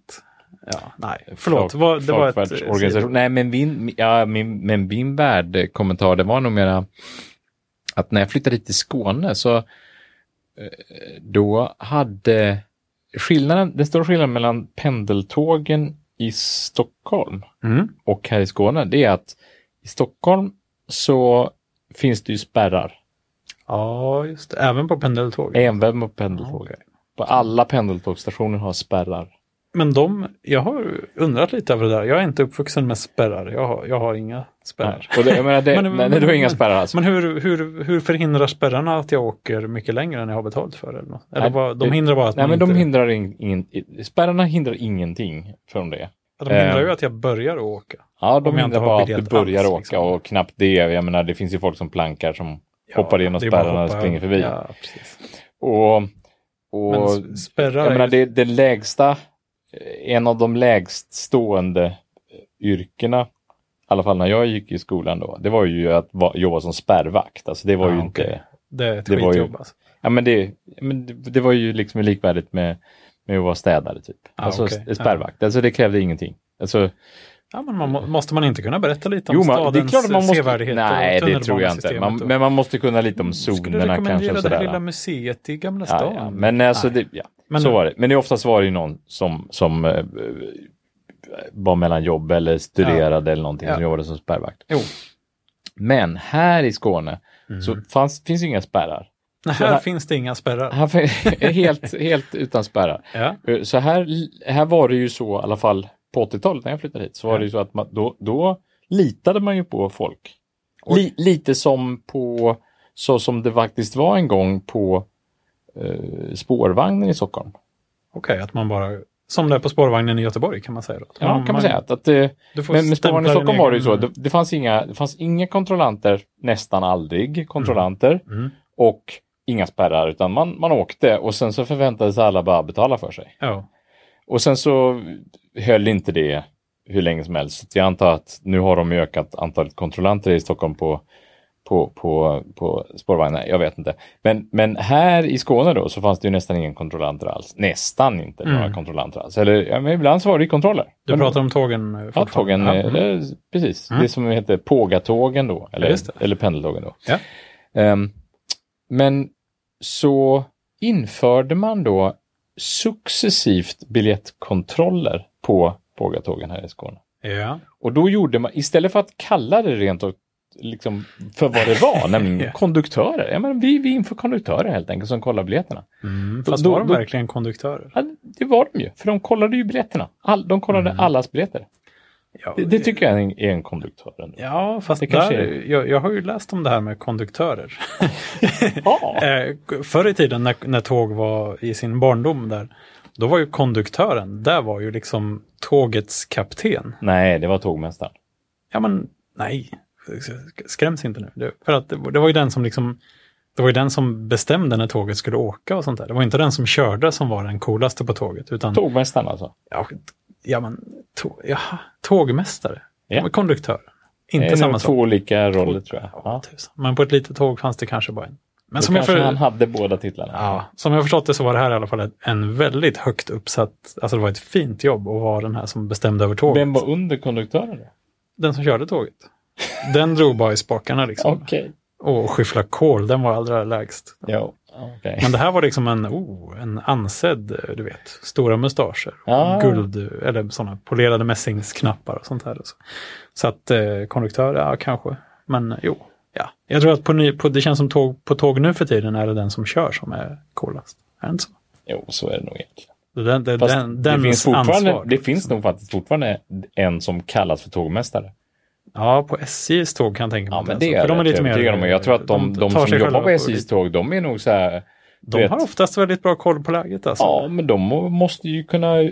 Ja, nej, förlåt. vad- det var ett... eh, organisation. Nej, men min, ja, min, men min värld-kommentar, det var nog mera att när jag flyttade hit till Skåne så eh, då hade skillnaden, den stora skillnaden mellan pendeltågen i Stockholm Mm. och här i Skåne, det är att i Stockholm så finns det ju spärrar, Ja, just det. Även på pendeltåg. även på pendeltåg. På alla pendeltågsstationer har spärrar. Men de, jag har undrat lite över det där. Jag är inte uppvuxen med spärrar. Jag har, jag har inga spärrar. Och det, jag menar, det, Men- nej, det var inga spärrar alls. Men hur, hur, hur förhindrar spärrarna att jag åker mycket längre än jag har betalt för? Eller, något? eller Nej, vad, de det- hindrar bara att Nej, man men de inte, hindrar in, in, i- spärrarna hindrar ingenting från det. de hindrar ju eh, att jag börjar att åka. Ja, Om de jag inte hindrar har bara att du biljett börjar alls, åka liksom. och knappt det. Jag menar, det finns ju folk som plankar som hoppar igenom det är bara att spärrarna och hoppa springer över. förbi. Ja, precis. Och, Men och s- spärrar jag menar, är ju- det, det lägsta, eh, en av de lägst stående eh, yrkena, i alla fall när jag gick i skolan då, det var ju att va, jobba som spärrvakt. Alltså det var Ja, ju Ah, okej. inte det är ett det var ju- skitjobb. Alltså. Ja, men det, men det, det var ju liksom likvärdigt med, med att vara städare typ. Ah, alltså okej. s- spärrvakt. Alltså det krävde ingenting. Alltså, Ja, men man, må- måste man inte kunna berätta lite om jo, man, stadens det är klart att man måste... sevärdheter? och Nej, det tror jag inte. tunnelbanesystemet Man, och- men man måste kunna lite om Skulle zonerna kanske. rekommendera Och det här sådär. lilla museet i Gamla ja, stan. ja. Men alltså, Nej. det, ja. Men- så var det. Men det är oftast var det ju någon som, som eh, var mellan jobb eller studerade eller någonting Ja. som jobbade som spärrvakt. Jo. Men här i Skåne så Mm. fanns, finns ju inga spärrar. Nej, så här, här- finns det inga spärrar. Han är helt, helt utan spärrar. Ja. Eh, Så här, här var det ju så, i alla fall på 80-talet när jag flyttade hit, så var det ju så att man, då, då litade man ju på folk. Li, lite som på, så som det faktiskt var en gång på eh, spårvagnen i Stockholm. Okej, att man bara... Som det är på spårvagnen i Göteborg kan man säga. Då. Att Ja, man, kan man man- säga. Att, att, eh, Du får men med spårvagnen i stämpla din Stockholm var det ju så, egen- det, det, fanns inga, det fanns inga kontrollanter, nästan aldrig kontrollanter, Mm. och inga spärrar, utan man, man åkte och sen så förväntades alla bara betala för sig. Ja. Och sen så höll inte det hur länge som helst. Så att Jag antar att nu har de ju ökat antalet kontrollanter i Stockholm på, på, på, på spårvagnar. Jag vet inte. Men, men här i Skåne då så fanns det ju nästan ingen kontrollanter alls. Nästan inte några Mm. kontrollanter alls. Eller ja, men ibland så var det ju kontroller. Du men, pratar om tågen eh, Ja, fortfarande. tågen, Ja, mm. eller, precis. Det som heter pågatågen då, eller, just det. eller pendeltågen då. Ja. Ehm, men så införde man då successivt biljettkontroller på pågatågen här i Skåne. Ja. Och då gjorde man, istället för att kalla det rent och liksom för vad det var, nämligen Ja. konduktörer. Ja, men vi, vi inför konduktörer helt enkelt som kollar biljetterna. Mm. Då- Fast då- var de då- verkligen konduktörer? Ja, det var de ju, för de kollade ju biljetterna. All, de kollade Mm. allas biljetter. Ja, Det, det tycker jag är en, är en konduktör. Ändå. Ja, fast Det kanske där, är- jag, jag har ju läst om det här med konduktörer. Ja. Eh, förr i tiden när, när tåg var i sin barndom där, då var ju konduktören, där var ju liksom tågets kapten. Nej, det var tågmästaren. Ja men nej, skräms inte nu. Det, för att det, var- det var ju den som liksom, det var ju den som bestämde när tåget skulle åka och sånt där. Det var inte den som körde som var den coolaste på tåget, utan Tågmästaren alltså. ja, ja men tå, jaha, tågmästare, Ja. men konduktör. Det Inte är samma nog sak. Eh, två olika roller tror jag. Ja, Ja. tusan. Men på ett litet tåg fanns det kanske bara en. Men Då som jag, kanske för, han hade båda titlarna. ja, som jag förstått det så var det här i alla fall ett- en väldigt högt uppsatt, alltså det var ett fint jobb att vara den här som bestämde över tåget. Vem var under konduktören? då? Den som körde tåget. Den drog bara i spakarna liksom. Okej. Och skyffla kol, den var allra lägst. Jo. Okej. Men det här var liksom en, oh, en ansedd, du vet, stora mustascher. Ja. Guld, eller sådana polerade mässingsknappar och sånt här. och Så, så att eh, konduktör, ja kanske. Men jo, Ja, jag tror att på, ny, på, det känns som tåg, på tåg nu för tiden är det den som kör som är coolast. Är det inte så? Jo, så är det nog egentligen. Det, det, det, Fast den, det dens finns, fortfarande, ansvar, det finns liksom. nog faktiskt fortfarande en som kallas för tågmästare. Ja, på SJs tåg kan jag tänka mig. Ja, att men det det så. är För de är lite mer... övertygad om. Jag tror att de, tar de, som sig jobbar själva på SJs lite- tåg, de är nog så här... du De vet, har oftast väldigt bra koll på läget alltså. Ja, men de må- måste ju kunna,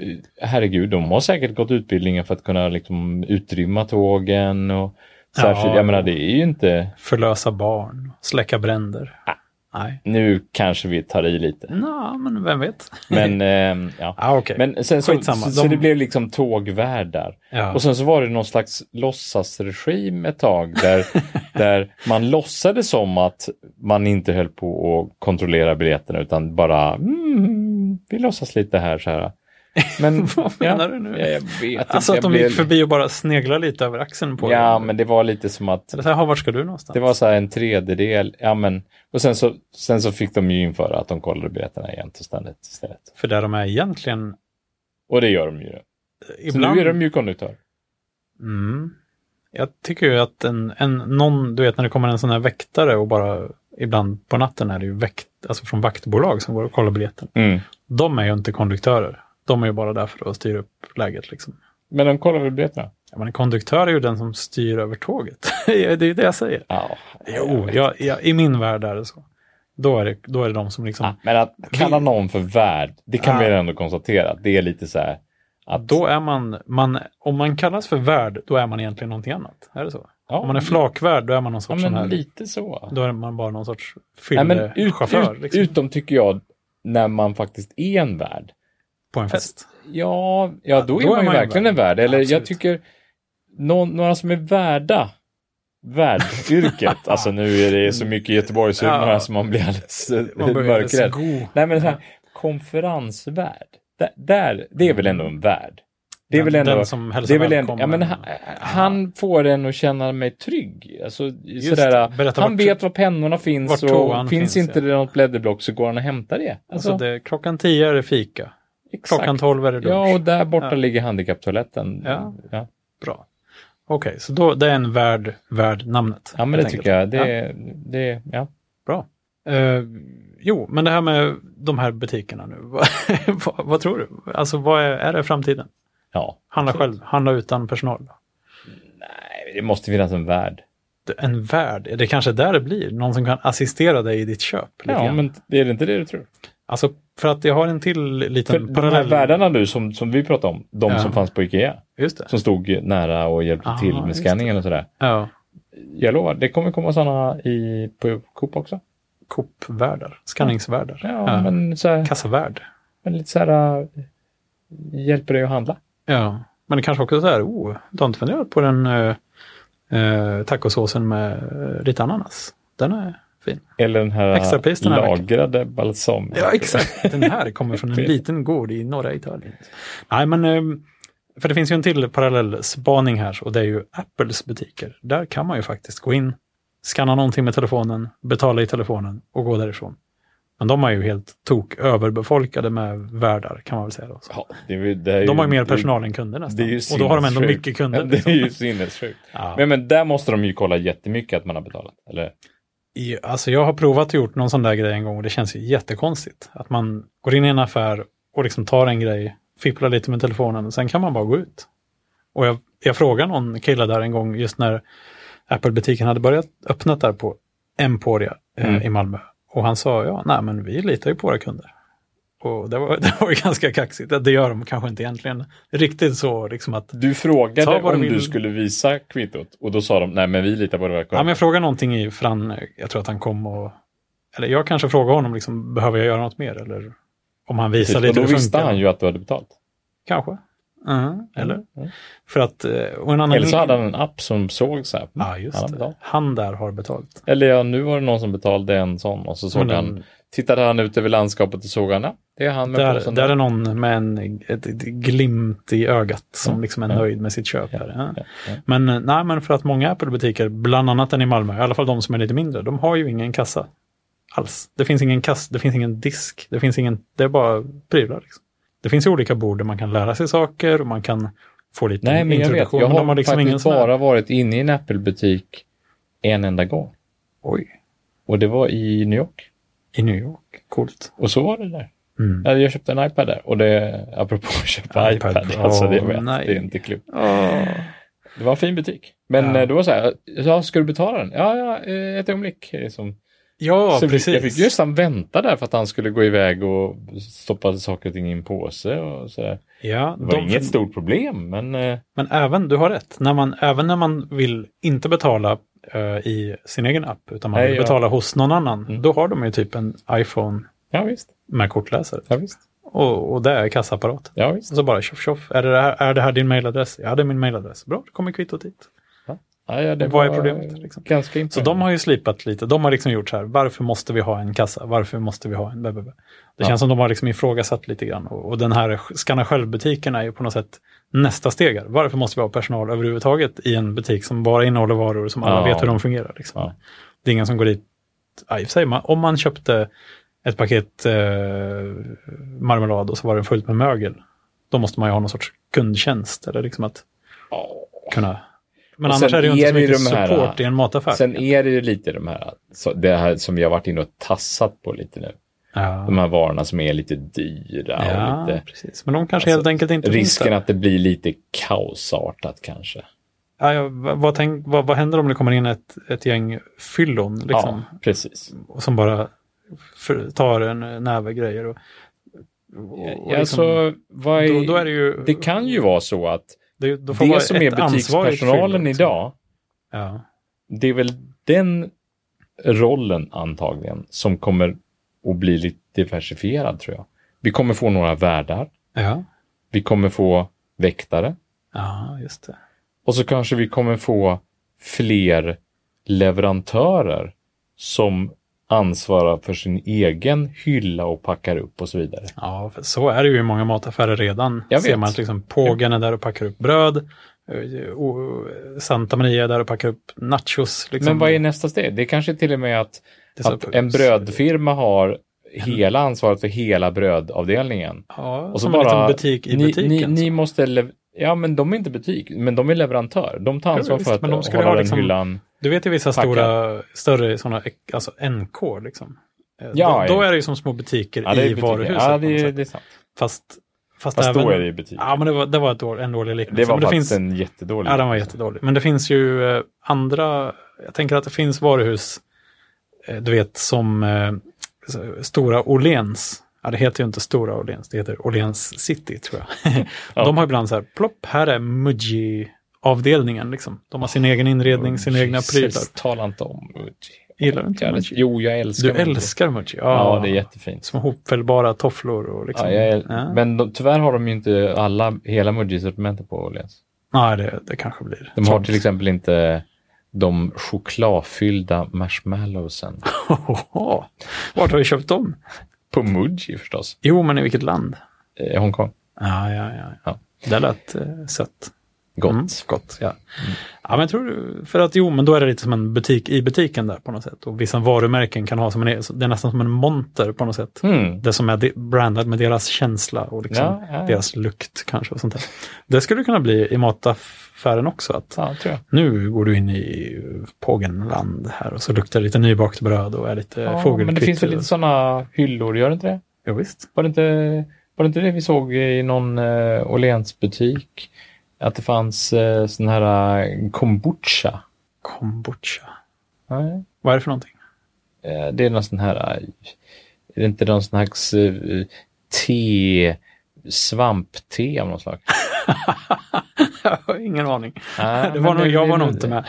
herregud, de har säkert gått utbildningen för att kunna liksom utrymma tågen och särskilt, Ja. jag menar det är ju inte, Förlösa barn, släcka bränder. Ah. Nej. nu kanske vi tar i lite, Nå, men vem vet? men ehm, ja. Ah, okej. Men sen så, så, Skitsamma, så de- det blev liksom tågvärdar. ja. Och sen så var det någon slags låtsasregim ett tag där, där man låtsades som att man inte höll på att kontrollera biljetterna utan bara, mm, vi låtsas lite här så här. Men, Vad menar du nu? Ja, jag vet inte. Alltså att Jag de blev- gick förbi och bara sneglade lite över axeln på Ja, dig. men det var lite som att Eller så här, "Ha, vart ska du någonstans? det var så här en tredjedel. Ja, men, och sen så, sen så fick de ju införa att de kollade biljetterna jämt och ständigt istället. För där de är egentligen... eh, Och det gör de ju. Så Ibland... nu är de ju konduktör. Mm. Jag tycker ju att en, en, någon, du vet när det kommer en sån här väktare och bara ibland på natten är det ju väkt, alltså från vaktbolag som går och kollar biljetten. Mm. De är ju inte konduktörer. De är ju bara där för att styra upp läget liksom. Men de kollar väl biljetterna? Ja, men en konduktör är ju den som styr över tåget. det är ju det jag säger. Ja. Jo, jag, jag, i min värld är det så. Då är det, då är det de som liksom, Ja, Men att kalla någon för värd, det kan Ah. vi ändå konstatera. Det är lite så här att... då är man, man, om man kallas för värd, då är man egentligen någonting annat. Är det så? ja, Om man är flakvärd, då är man någon Ja, sorts sån här, men lite så. då är man bara någon sorts Nej, men ut, fyllechaufför ut, liksom, Utom tycker jag när man faktiskt är en värd. på en fest. Ja, ja då, är man ju verkligen värd. en värd. Eller jag Absolut. tycker någon, några som är värda värdyrket. alltså nu är det så mycket Göteborgshumor Ja. här som man blir alldeles eh, Man börjar mörkrädd. så god. Nej men så här, konferensvärd. Där, där, det är väl ändå en värd. Det är väl Den- ändå... den som hälsar det är väl ändå, ja, välkommen. Alltså, men han, han får en att känna mig trygg. Alltså, det. sådär, Berätta han vart- vet var pennorna finns vart och toan finns, finns, inte ja. det något blädderblock så går han och hämtar det. Alltså, Alltså, det, klockan tio är det fika, klockan tolv är det lunch. Ja, och där borta Ja. ligger handikapptoaletten. Ja. ja. Bra. Okej, så då, det är en värd, värd namnet. Ja, men helt det enkelt. tycker jag. Det, Ja. är- det, ja. Bra. Eh, jo, men det här med de här butikerna nu. vad, vad- vad tror du? Alltså vad är, är det framtiden? ja. Handla själv, handla utan personal. Nej, det måste finnas en värld. Det- En värd, det kanske är där det blir. Någon som kan assistera dig i ditt köp. Lite Ja, grann. men är det inte det du tror? Alltså för att jag har en till För liten de här parallell. världarna nu som, som vi pratade om, de Ja. som fanns på Ikea, Just det. som stod nära och hjälpte Ah, till med just scanningen och sådär. Ja, Jag lovar, det kommer komma sådana i, på Coop också. Coop-värdar, skanningsvärdar. Ja, men så här, Kassavärd. men lite så här, äh, hjälper dig att handla. Ja, men det kanske också så här, oh, du har inte funderat på den eh, eh, tacosåsen med eh, lite ananas? Den är fin. Eller den här Extrapris den här veckan. lagrade balsam. Ja, exakt. Den här kommer från en liten gård i norra Italien. Nej, men ehm, för det finns ju en till parallell spaning här och det är ju Apples butiker. Där kan man ju faktiskt gå in, skanna någonting med telefonen, betala i telefonen och gå därifrån. Men de är ju helt tok överbefolkade med värdar kan man väl säga. Då. Så Ja, det, är ju- det är ju- De har ju mer det är- personal än kunder det nästan. är ju Och då har de ändå sinnessjukt. mycket kunder. Det liksom. är ju sinnessjukt. Ja. Men, men där måste de ju kolla jättemycket att man har betalat. Eller? I- Alltså jag har provat och gjort någon sån där grej en gång och det känns ju jättekonstigt. Att man går in i en affär och liksom tar en grej, fipplar lite med telefonen och sen kan man bara gå ut. Och jag, jag frågade någon kille där en gång just när Apple-butiken hade börjat öppna där på Emporia Mm. eh, i Malmö. Och han sa ja, nej men vi litar ju på våra kunder. Och det var, det var ju ganska kaxigt. Det gör de kanske inte egentligen riktigt så liksom att Du Ta frågade vad du om du vill. skulle visa kvittot och då sa de nej men vi litar på det. Ja, men jag frågade någonting i Fran, jag tror att han kom och... Eller jag kanske frågade honom, liksom, behöver jag göra något mer? Eller om han visar Typ, och lite då hur det visste funkar. han ju att du hade betalt. Kanske. Mhm, eller? Mm. För att... eh, Och en annan... Eller så hade han en app som såg så här. Ja, han just har det. betalt. Han där har betalt. Eller ja, nu var det någon som betalade en sån och så såg Men den- han, tittade han ut över landskapet och såg han, ja, det är han med Där, påsen där är någon med en, ett, ett glimt i ögat som Ja, liksom är ja. nöjd med sitt köp. här. Ja. Ja, ja. Men eh, nej, men för att många Apple-butiker, bland annat den i Malmö, i alla fall de som är lite mindre, de har ju ingen kassa alls. Det finns ingen kass, det finns ingen disk, det finns ingen, det är bara prylar. Liksom. Det finns ju olika bord där man kan lära sig saker och man kan få lite Nej, men jag vet. introduktion. Jag men de liksom har, har liksom ingen faktiskt sån här- bara varit inne i en Apple-butik en enda gång. Oj, Och det var i New York. i New York. Coolt. Och så var det där. Mm. Ja, Jag köpte en iPad där och det, apropå att köpa iPad. iPad, alltså det, Åh, vet, nej. det är inte klokt. Det var en fin butik. Men Ja. eh, det var så här, ja, ska du betala den? Ja, ja eh, ett ögonblick. Liksom. Ja, så jag fick- precis. Jag fick ju nästan vänta där för att han skulle gå iväg och stoppa saker och ting i en påse. Och så där. ja, Det var de, inget stort problem, men eh, Men även, du har rätt, när man, även när man vill inte betala eh, i sin egen app, utan man Nej, vill ja. betala hos någon annan, Mm. då har de ju typ en iPhone ja visst. med kortläsare. Ja, visst. Och, och det är kassaapparat. Ja, visst. Och så bara tjoff tjoff, är det, det här, är det här din mailadress? Ja, det är min mailadress. Bra, då kommer kvittot dit. Ja, ja, det Vad är var problemet, liksom? Ganska Så de har ju slipat lite, de har liksom gjort så här, varför måste vi ha en kassa? Varför måste vi ha en blablabla? Det Ja. känns som de har liksom ifrågasatt lite grann. Och, och den här skanna själv-butiken är ju på något sätt nästa steg. här. Varför måste vi ha personal överhuvudtaget i en butik som bara innehåller varor som alla Ja. vet hur de fungerar? Liksom. Ja. Det är ingen som går dit, ja, i och för sig, man, om man köpte ett paket eh, marmelad och så var den fullt med mögel, då måste man ju ha någon sorts kundtjänst eller liksom att kunna... Men Och annars sen är det ju inte är så det ju mycket de här- äh, support i en mataffär. Sen är det ju lite de här, så det här som jag varit inne och tassat på lite nu. Ja. De här varorna som är lite dyra Ja, och lite... precis. Men de kanske Alltså, helt enkelt inte Risken finns att det blir lite kaosartat kanske. där. Ja, ja, vad, vad, tänk, vad, vad händer om det kommer in ett, ett gäng fyllon liksom, Ja, precis. och som bara för, tar en eh, näve grejer? Och, och, och liksom, alltså, vad är, då, då är det ju... det kan ju vara så att det, då får vara det som ett är ansvarigt butikspersonalen fyllo, liksom. idag, Ja, det är väl den rollen antagligen som kommer att bli lite diversifierad tror jag. Vi kommer få några värdar, ja. vi kommer få väktare ja just det. och så kanske vi kommer få fler leverantörer som ansvarar för sin egen hylla och packar upp och så vidare. Ja, för så är det ju i många mataffärer redan. Jag Ser vet. man att liksom pågen är där och packar upp bröd, eh, och Santa Maria är där och packar upp nachos. Liksom. Men vad är nästa steg? Det kanske till och med att, Det är så- att en brödfirma har hela ansvaret för hela brödavdelningen. Ja, Och så som en bara- liten butik i Ni, butiken. alltså. liksom. ni, så. ni måste... lev- Ja, men de är inte butik, men de är leverantör. De tar Ja, ansvar visst, för att men de skulle hålla ha den liksom- hyllan. Du vet ju vissa Tackar. stora, större sådana, alltså NK liksom. Eh, Ja, då, då ja. är det ju som små butiker Ja, det är i butiker. varuhuset. Ja, på något det, är- sätt. det är sant. Fast, fast, Fast även, då är det ju butik. Ja, men det var, det var ett då, en dålig liknelse. Det var men det faktiskt finns, en jättedålig. Ja, den var jättedålig. Men det finns ju eh, andra, jag tänker att det finns varuhus, eh, du vet som eh, så- Stora Åhléns. Ja, det heter ju inte Stora Åhléns, det heter Åhléns City tror jag. Ja. De har ibland så här, plopp, här är Muji-avdelningen liksom. De har sin egen inredning, sina egna prylar. Oh, Jesus, Tala inte om Muji. Gillar du inte Jag- Muji? Jo, jag älskar Du Muji. älskar Muji? Ja, det är jättefint. Små hopfällbara tofflor och liksom. Ja, jag, äl- Ja. Men de, tyvärr har de ju inte alla, hela Muji-sortimentet på Åhléns. Nej, det, det kanske blir. De har till exempel inte de chokladfyllda marshmallowsen. Ohoho. Vart har du köpt dem? På Muji förstås. Jo, men i vilket land? Eh, Hongkong. Ja, ja, ja. ja. Ja. Det lät eh, sött. Gott. Mm, gott, ja. ja men jag tror, du- för att jo, men då är det lite som en butik i butiken där på något sätt. Och vissa varumärken kan ha som en, det är nästan som en monter på något sätt. Mm. Det som är de- brandad med deras känsla och liksom Ja, ja, ja. deras lukt kanske och sånt där. Det skulle kunna bli i mataffären också, att Ja, tror jag. nu går du in i Pågenland här och så luktar det lite nybakt bröd och är lite Ja, Eh, fågelkvitter. men det finns väl lite sådana hyllor, gör det inte det? Jo, visst. Var det inte, var det, inte det vi såg i någon eh, Åhléns-butik? Att det fanns eh, sån här eh, kombucha. Kombucha. Nej. Vad är det för någonting? Eh, det är någon sån här, eh, är det inte någon sån här eh, te, svampte av något slag? jag har ingen aning. Nej, det var Ah, men nog, jag det- var nog inte med.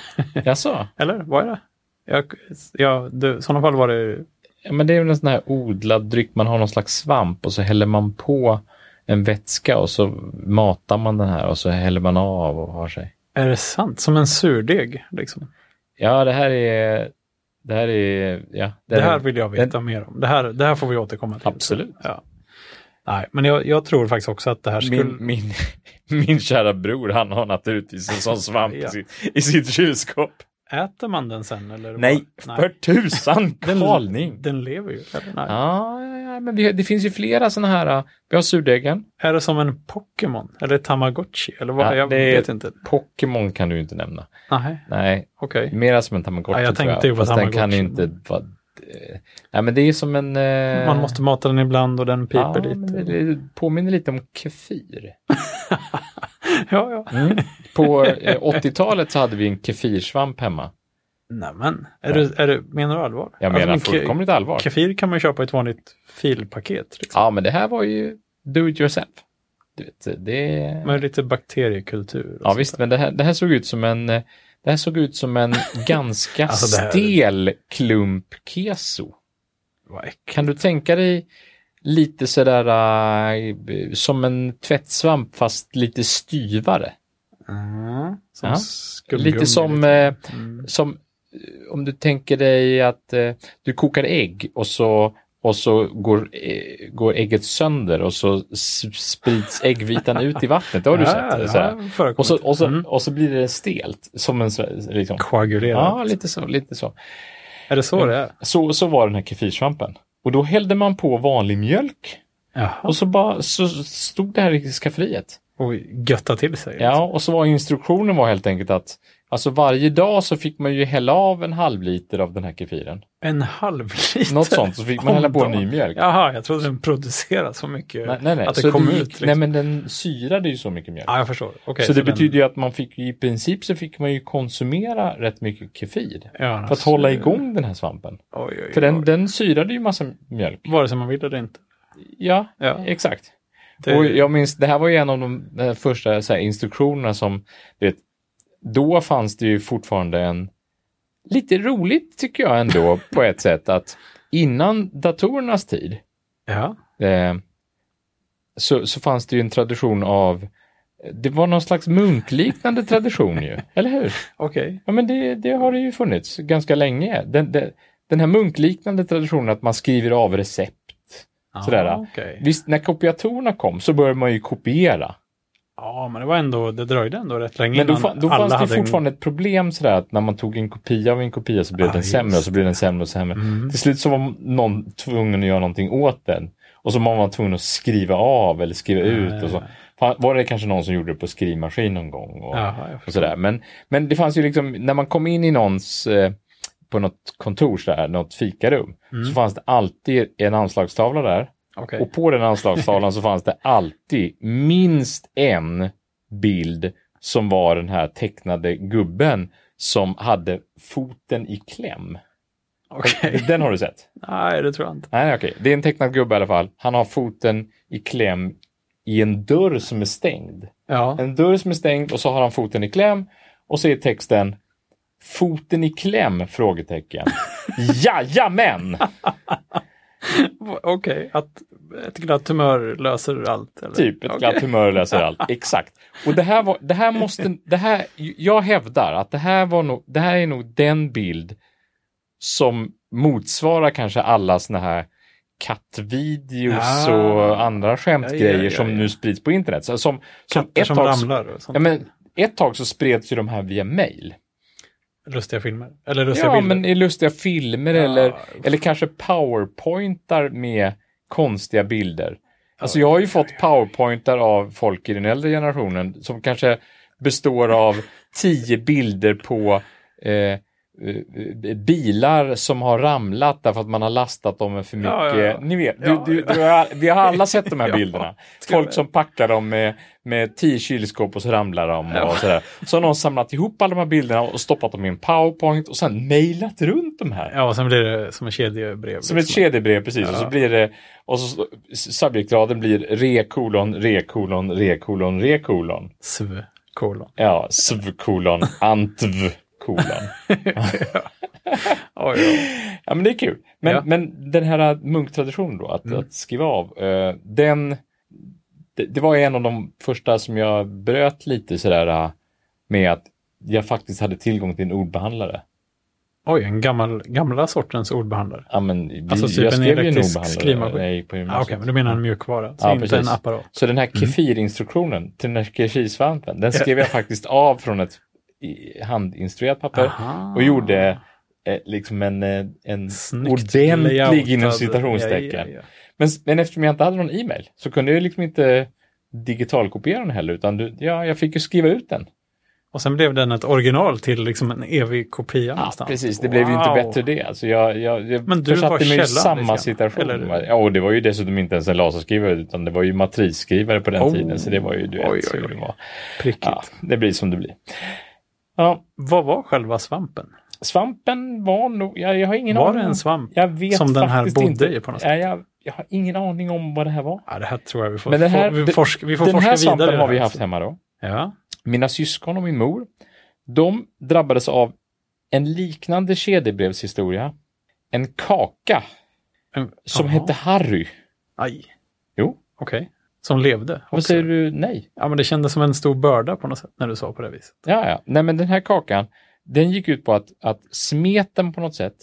Jaså? Eller vad är det? Jag, ja, det, I sådana fall var det... Ja, men det är väl en sån här odlad dryck. Man har någon slags svamp och så häller man på en vätska och så matar man den här och så häller man av och har sig. Är det sant? Som en surdeg? Liksom. Ja, det här är... Det här är... Ja, Det, här vill jag veta mer om. Det här, det här får vi återkomma till. Absolut. Ja. Nej, men jag, jag tror faktiskt också att det här skulle... Min, min, min kära bror, han har naturligtvis en sån svamp Ja. i, sitt, i sitt kylskåp. Äter man den sen? Eller Nej, bara- för tusan! Kalning! Den lever ju. Eller? Nej. Ja, ja, ja, men vi, det finns ju flera sådana här. äh, Vi har surdegen. Är det som en Pokémon? Eller Tamagotchi? Eller vad? Ja, jag det är- vet inte. Pokémon kan du inte nämna. Nej, Nej, okej. mera som en tamagotchi Ja, jag tänkte tror ju jag. på Fast den kan Tamagotchi. inte vara... eh, Nej, men det är som en... eh, Man måste mata den ibland och den ja, piper lite. men det påminner lite om kefir. Ja, ja. På eh, 80-talet så hade vi en kefirsvamp hemma. Nämen, är du, är du, menar du allvar? Jag menar Alltså, men ke- fullkomligt allvar. Kefir kan man ju köpa i ett vanligt filpaket. Liksom. Ja, men det här var ju do it yourself. Du vet, det... Med lite bakteriekultur. och Ja sånt visst, där. men det här, det här såg ut som en, eh, det här såg ut som en ganska Alltså, det här- stel klump keso. Vad äckligt. Kan du tänka dig lite sådär eh, som en tvättsvamp fast lite styvare? Mm. Som Ja. skumgummi. lite som, lite. eh, Mm. som eh, om du tänker dig att eh, du kokar ägg och så och så går, eh, går ägget sönder och så s- sprids äggvitan ut i vattnet. Det har du Ja, sett. det Så här. har förekommit. Och, så, och, så, Mm. och så blir det stelt. Som en, så- liksom, Koagulerat. Ja, lite så. Lite så. Är det så det är? Så, så var den här kefirsvampen. Och då hällde man på vanlig mjölk Jaha. och så, bara, så stod det här i skafferiet. Och götta till sig. liksom. Ja, och så var instruktionen var helt enkelt att alltså varje dag så fick man ju hälla av en halv liter av den här kefiren. En halv liter. Något sånt, så fick man Om hälla på dagen. ny mjölk. Jaha, jag trodde den producerade så mycket. Nej, nej, nej. Att det så kom gick- ut. Liksom. Nej, men den syrade ju så mycket mjölk. Ja, jag förstår. Okej, så det den- betyder ju att man fick ju i princip så fick man ju konsumera rätt mycket kefir Ja, för att hålla igång den här svampen. Oj, oj, oj. För den, den syrade ju massa mjölk. Vare sig man vill eller inte. Ja, Ja. exakt. Det- Och jag minns, det här var ju en av de eh, första så här, instruktionerna som, du vet, då fanns det ju fortfarande en, lite roligt tycker jag ändå på ett sätt att innan datorernas tid Ja. eh, så, så fanns det ju en tradition av, det var någon slags munkliknande tradition ju, eller hur? Okej. Ja, men det, det har det ju funnits ganska länge. Den, den, den här munkliknande traditionen att man skriver av recept. Ja, Sådär, ja. okej. Visst, när kopiatorerna kom så började man ju kopiera. ja, men det var ändå, det dröjde ändå rätt länge Men då, innan fa- då alla fanns hade det en- fortfarande ett problem sådär att när man tog en kopia av en kopia så blev Ah, den just sämre och så blev den sämre och sämre. Mm. Till slut så var någon tvungen att göra någonting åt den. Och så var man tvungen att skriva av eller Ah, skriva ut och så. Fan, Var det kanske någon som gjorde det på skrivmaskin någon gång? Och, Jaha, jag och förstår. sådär. Men, men det fanns ju liksom, när man kom in i någons, eh, på något kontor, sådär, något fikarum, Mm. så fanns det alltid en anslagstavla där. Okej. Och på den anslagstavlan så fanns det alltid minst en bild som var den här tecknade gubben som hade foten i kläm. Okej. Den har du sett? Nej, det tror jag inte. Nej, okej. Det är en tecknad gubbe i alla fall. Han har foten i kläm i en dörr som är stängd. Ja. En dörr som är stängd och så har han foten i kläm och så är texten Foten i kläm? Frågetecken. Jajamän! Okej, att ett glatt humör löser allt. Eller? Typ ett Okej. glatt humör löser allt. Exakt. Och det här var, det här måste, det här, jag hävdar att det här var nog, det här är nog den bild som motsvarar kanske alla såna här kattvideos Ah. och andra skämtgrejer Ja, ja, ja, som ja. nu sprids på internet. Så, som, som Katter ett som tag, ramlar och sånt. ja, men, ett tag så spreds ju de här via mail. Lustiga filmer. Eller lustiga Ja, bilder. men i lustiga filmer Ja. eller, eller kanske powerpointar med konstiga bilder. Alltså Ja, jag har ju fått powerpointar av folk i den äldre generationen som kanske består av tio bilder på eh, eh, bilar som har ramlat därför att man har lastat dem med för mycket. Ja, ja, ja. Ni vet, Ja, du, ja. du, du har, vi har alla sett de här Ja. bilderna. Ska Folk vi- som packar dem med, med tio kylskåp och så ramlar de. Ja. Och sådär. Så har någon samlat ihop alla de här bilderna och stoppat dem i en powerpoint och sen mejlat runt de här. Ja, och sen blir det som ett kedjebrev. liksom. Som ett kedjebrev precis. Och så Ja. blir det, och så subjektraden blir re kolon, re kolon, re kolon, re kolon. Sv, kolon. Ja, sv kolon, antv kolon. Ja, ja. Ja, men det är kul. Men, Ja. Mm. men den här äh, munktraditionen då, att, att skriva av, eh, den, det, det var en av de första som jag bröt lite sådär eh, med att jag faktiskt hade tillgång till en ordbehandlare. Oj, en gammal, gamla sortens ordbehandlare. Ja, men vi, Alltså typ jag en skrev ju en elektrisk ordbehandlare skrivmaskin. när jag gick på Ah, Okej, gymnasiet. men Mm. du menar en mjukvara, så Mm, Ja, inte precis. en apparat. Så den här kefirinstruktionen till den här kefirsvampen, den skrev jag faktiskt av från ett i- handinstruerat papper Aha. och gjorde eh, liksom en, eh, en Snyggt layoutad. ordentlig inom citationstecken. Ja, ja, ja. Men, men eftersom jag inte hade någon e-mail så kunde jag liksom inte digitalkopiera den heller utan du, ja, jag fick ju skriva ut den. Och sen blev den ett original till liksom en evig kopia Ja, någonstans. precis, det blev ju inte Ah, Wow. bättre det. Alltså jag, jag, jag Men du försatte var mig i källan, samma liksom. situation. Eller hur? Ja, och det var ju dessutom inte ens en laserskrivare utan det var ju matrisskrivare på den Oh. tiden så det var ju du Oj, vet oj, hur det oj. var. Prickigt. Ja, det blir som det blir. Ja, Vad var själva svampen? svampen var nog, jag, jag har ingen Var aning. det en svamp? Jag vet som den här faktiskt bodde inte. i på något Ja, jag, jag har ingen aning om vad det här var. Ja, det här tror jag vi får, Men den här- får, vi forska, vi får den forska här vidare. i svampen det har vi här. haft hemma då. Ja. Mina syskon och min mor, de drabbades av en liknande kedjebrevshistoria. En kaka En- som Jaha. hette Harry. Aj. Jo. Okej. Som levde. Vad också. säger du? Nej. Ja, men det kändes som en stor börda på något sätt när du sa på det viset. Ja, ja. Nej, men den här kakan, den gick ut på att, att smeten på något sätt.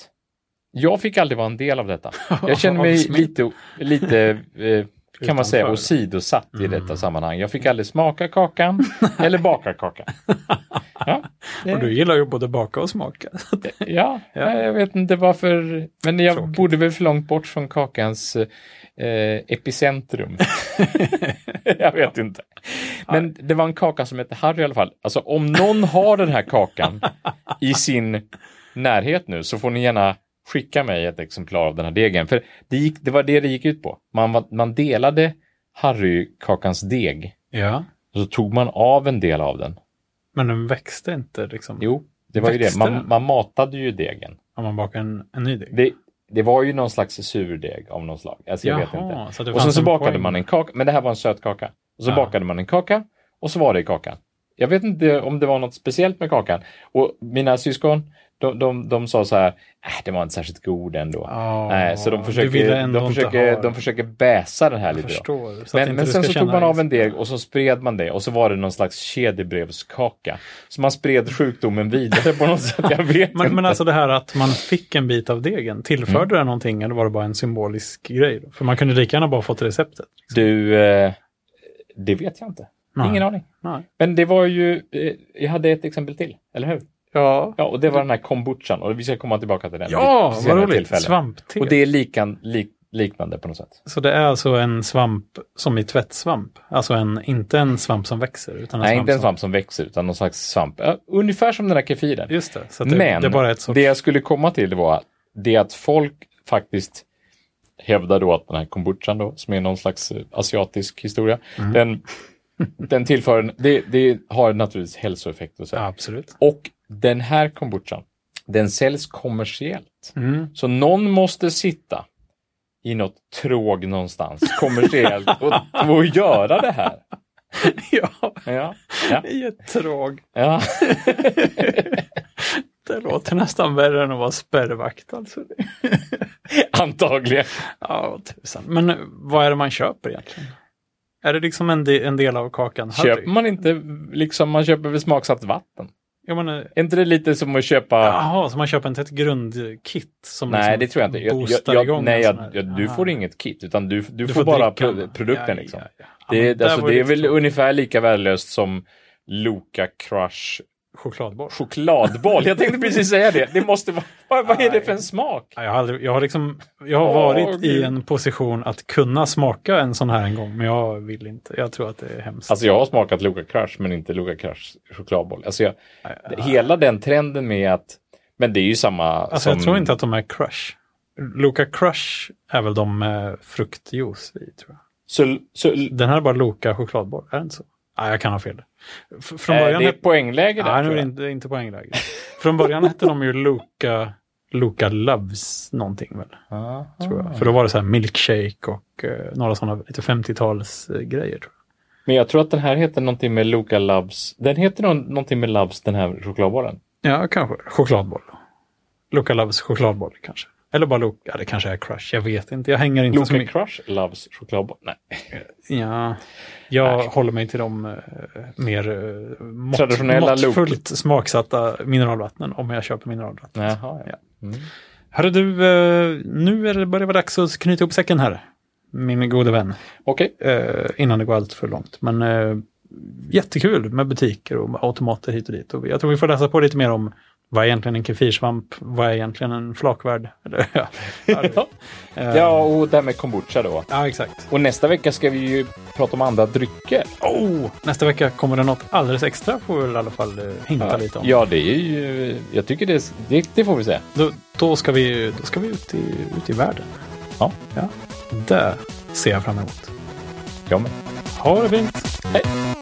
Jag fick aldrig vara en del av detta. Jag känner mig Avsmitt. lite, lite eh, kan man säga, Utanför. Mm. åsidosatt i detta sammanhang. Jag fick aldrig smaka kakan eller baka kakan. Ja, det- Och du gillar ju både baka och smaka. Ja, Ja. jag vet inte varför. Men jag Tråkigt. bodde väl för långt bort från kakans eh, epicentrum. jag vet inte. Men det var en kaka som hette Harry i alla fall. Alltså om någon har den här kakan i sin närhet nu så får ni gärna skicka mig ett exemplar av den här degen. För det, gick, det var det det gick ut på. Man, var- man delade Harry-kakans deg Ja. och så tog man av en del av den. Men den växte inte liksom. Jo, det var ju det. Växte Man, den? man matade ju degen. Om man bakar en, en ny deg. Det, det var ju någon slags surdeg av någon slag. Alltså, jag vet inte. Så det Och sen fanns så en bakade poäng. man en kaka, men det här var en söt kaka. Och så Ja. bakade man en kaka och så var det i kakan. Jag vet inte om det var något speciellt med kakan. Och mina syskon, de, de, de sa så här, äh, det var inte särskilt god ändå. Ja, Nej, så de du ville försöker, ändå de, inte försöker, ha de den. försöker bäsa den här Jag lite. Då. förstår. Så att inte Men, men du sen ska så tog känna man dig av en så- deg och så spred man det och så var det någon slags kedjebrevskaka. Så man spred sjukdomen vidare på något sätt. Jag vet Men, men inte. alltså det här att man fick en bit av degen, tillförde Mm. det någonting eller var det bara en symbolisk grej? Då? För man kunde lika gärna bara fått receptet. Du, eh, det vet jag inte. Liksom. Nej. Ingen aning. Nej. Men det var ju, eh, jag hade ett exempel till, eller hur? Ja, Ja, och det var den här kombuchan och vi ska komma tillbaka till den. vid ja ett vad senare roligt. tillfälle. Svampte. Och det är likan, lik, liknande på något sätt. Så det är alltså en svamp som i tvättsvamp? Alltså en, inte en svamp som växer? Utan en Nej, svamp inte en som- svamp som växer utan någon slags svamp. Ja, ungefär som den här kefiren. Just det, så att det, Men det är bara ett sorts... det jag skulle komma till var det att folk faktiskt hävdar då att den här kombuchan då, som är någon slags eh, asiatisk historia, Mm. den, den tillför, en- det, det har naturligtvis hälsoeffekter och så. här. Ja, absolut. Och den här kombuchan, den säljs kommersiellt. Mm. Så någon måste sitta i något tråg någonstans kommersiellt och, och göra det här. ja, Ja, ja, i ett tråg. ja. Det låter nästan värre än att vara spärrvakt. Alltså. antagligen. Ja, vad tusan. Men eh, vad är det man köper egentligen? Är det liksom en, de, en del av kakan? Harry? Köper man inte, liksom, man köper väl smaksatt vatten? Jag menar, Är inte det lite som att köpa eh, Jaha, så man köper inte ett grundkit? Som liksom Nej, det tror jag inte. Jag, boostar jag, jag, igång nej, en jag, sån här- jag, du Aha. får inget kit, utan du, du, Du får, bara dricka pro, den. produkten. Ja, liksom. ja, ja. Ja, Det, men där alltså, var det är lite väl tråkigt. ungefär lika värdelöst som Loka Crush Chokladboll. chokladboll. Jag tänkte precis säga det. Det måste vara, vad, vad är det för en smak? Ja, Jag har, aldrig, jag har, liksom, jag har Åh, varit i Gud. en position att kunna smaka en sån här en gång, men jag vill inte. Jag tror att det är hemskt. Alltså jag har smakat Loka Crush, men inte Loka Crush chokladboll. Alltså jag, hela den trenden med att, men det är ju samma Alltså, som... Jag tror inte att de är crush. Loka Crush är väl de med fruktjuice i, tror jag. Så, så, Den här är bara Loka chokladboll, är det inte så? Nej, jag kan ha fel. F- från eh, början det är poängläge där. Nej, nu tror är det jag. inte, det är inte poängläge. Från början hette de ju Luca, Luca Loves någonting väl, Aha. tror jag. För då var det så här milkshake och eh, några sådana lite 50-talsgrejer. grejer tror jag. Men jag tror att den här heter någonting med Loka Loves. Den heter nå- någonting med Loves, den här chokladbollen. Ja, kanske. Chokladboll. då. Luca Loves chokladboll kanske. Eller bara Luca, ja, det kanske är Crush, jag vet inte. Jag hänger inte så Loka mycket. Crush Loves chokladboll. Nej. Ja, jag Nej. håller mig till de eh, mer eh, mått, Traditionella Loka. måttfullt smaksatta mineralvattnen om jag köper mineralvatten. Jaha, ja. Mm. Hörru du, eh, nu är det börjar det vara dags att knyta ihop säcken här. Min gode vän. Okej, eh, innan det går allt för långt. Men eh, jättekul med butiker och automater hit och dit. Och jag tror vi får läsa på lite mer om vad är egentligen en kefirsvamp? Vad är egentligen en flakvärd? Eller, ja. ja. ja, och det här med kombucha då. ja, exakt. Och nästa vecka ska vi ju prata om andra drycker. Oh, nästa vecka kommer det något alldeles extra får vi väl i alla fall eh, hinta lite om. Ja, det är ju... Jag tycker det, det, det får vi se. Då, då, ska vi, då ska vi ut i, ut i världen. Ja, Ja. Det ser jag fram emot. jag med. Ha det fint! Hej!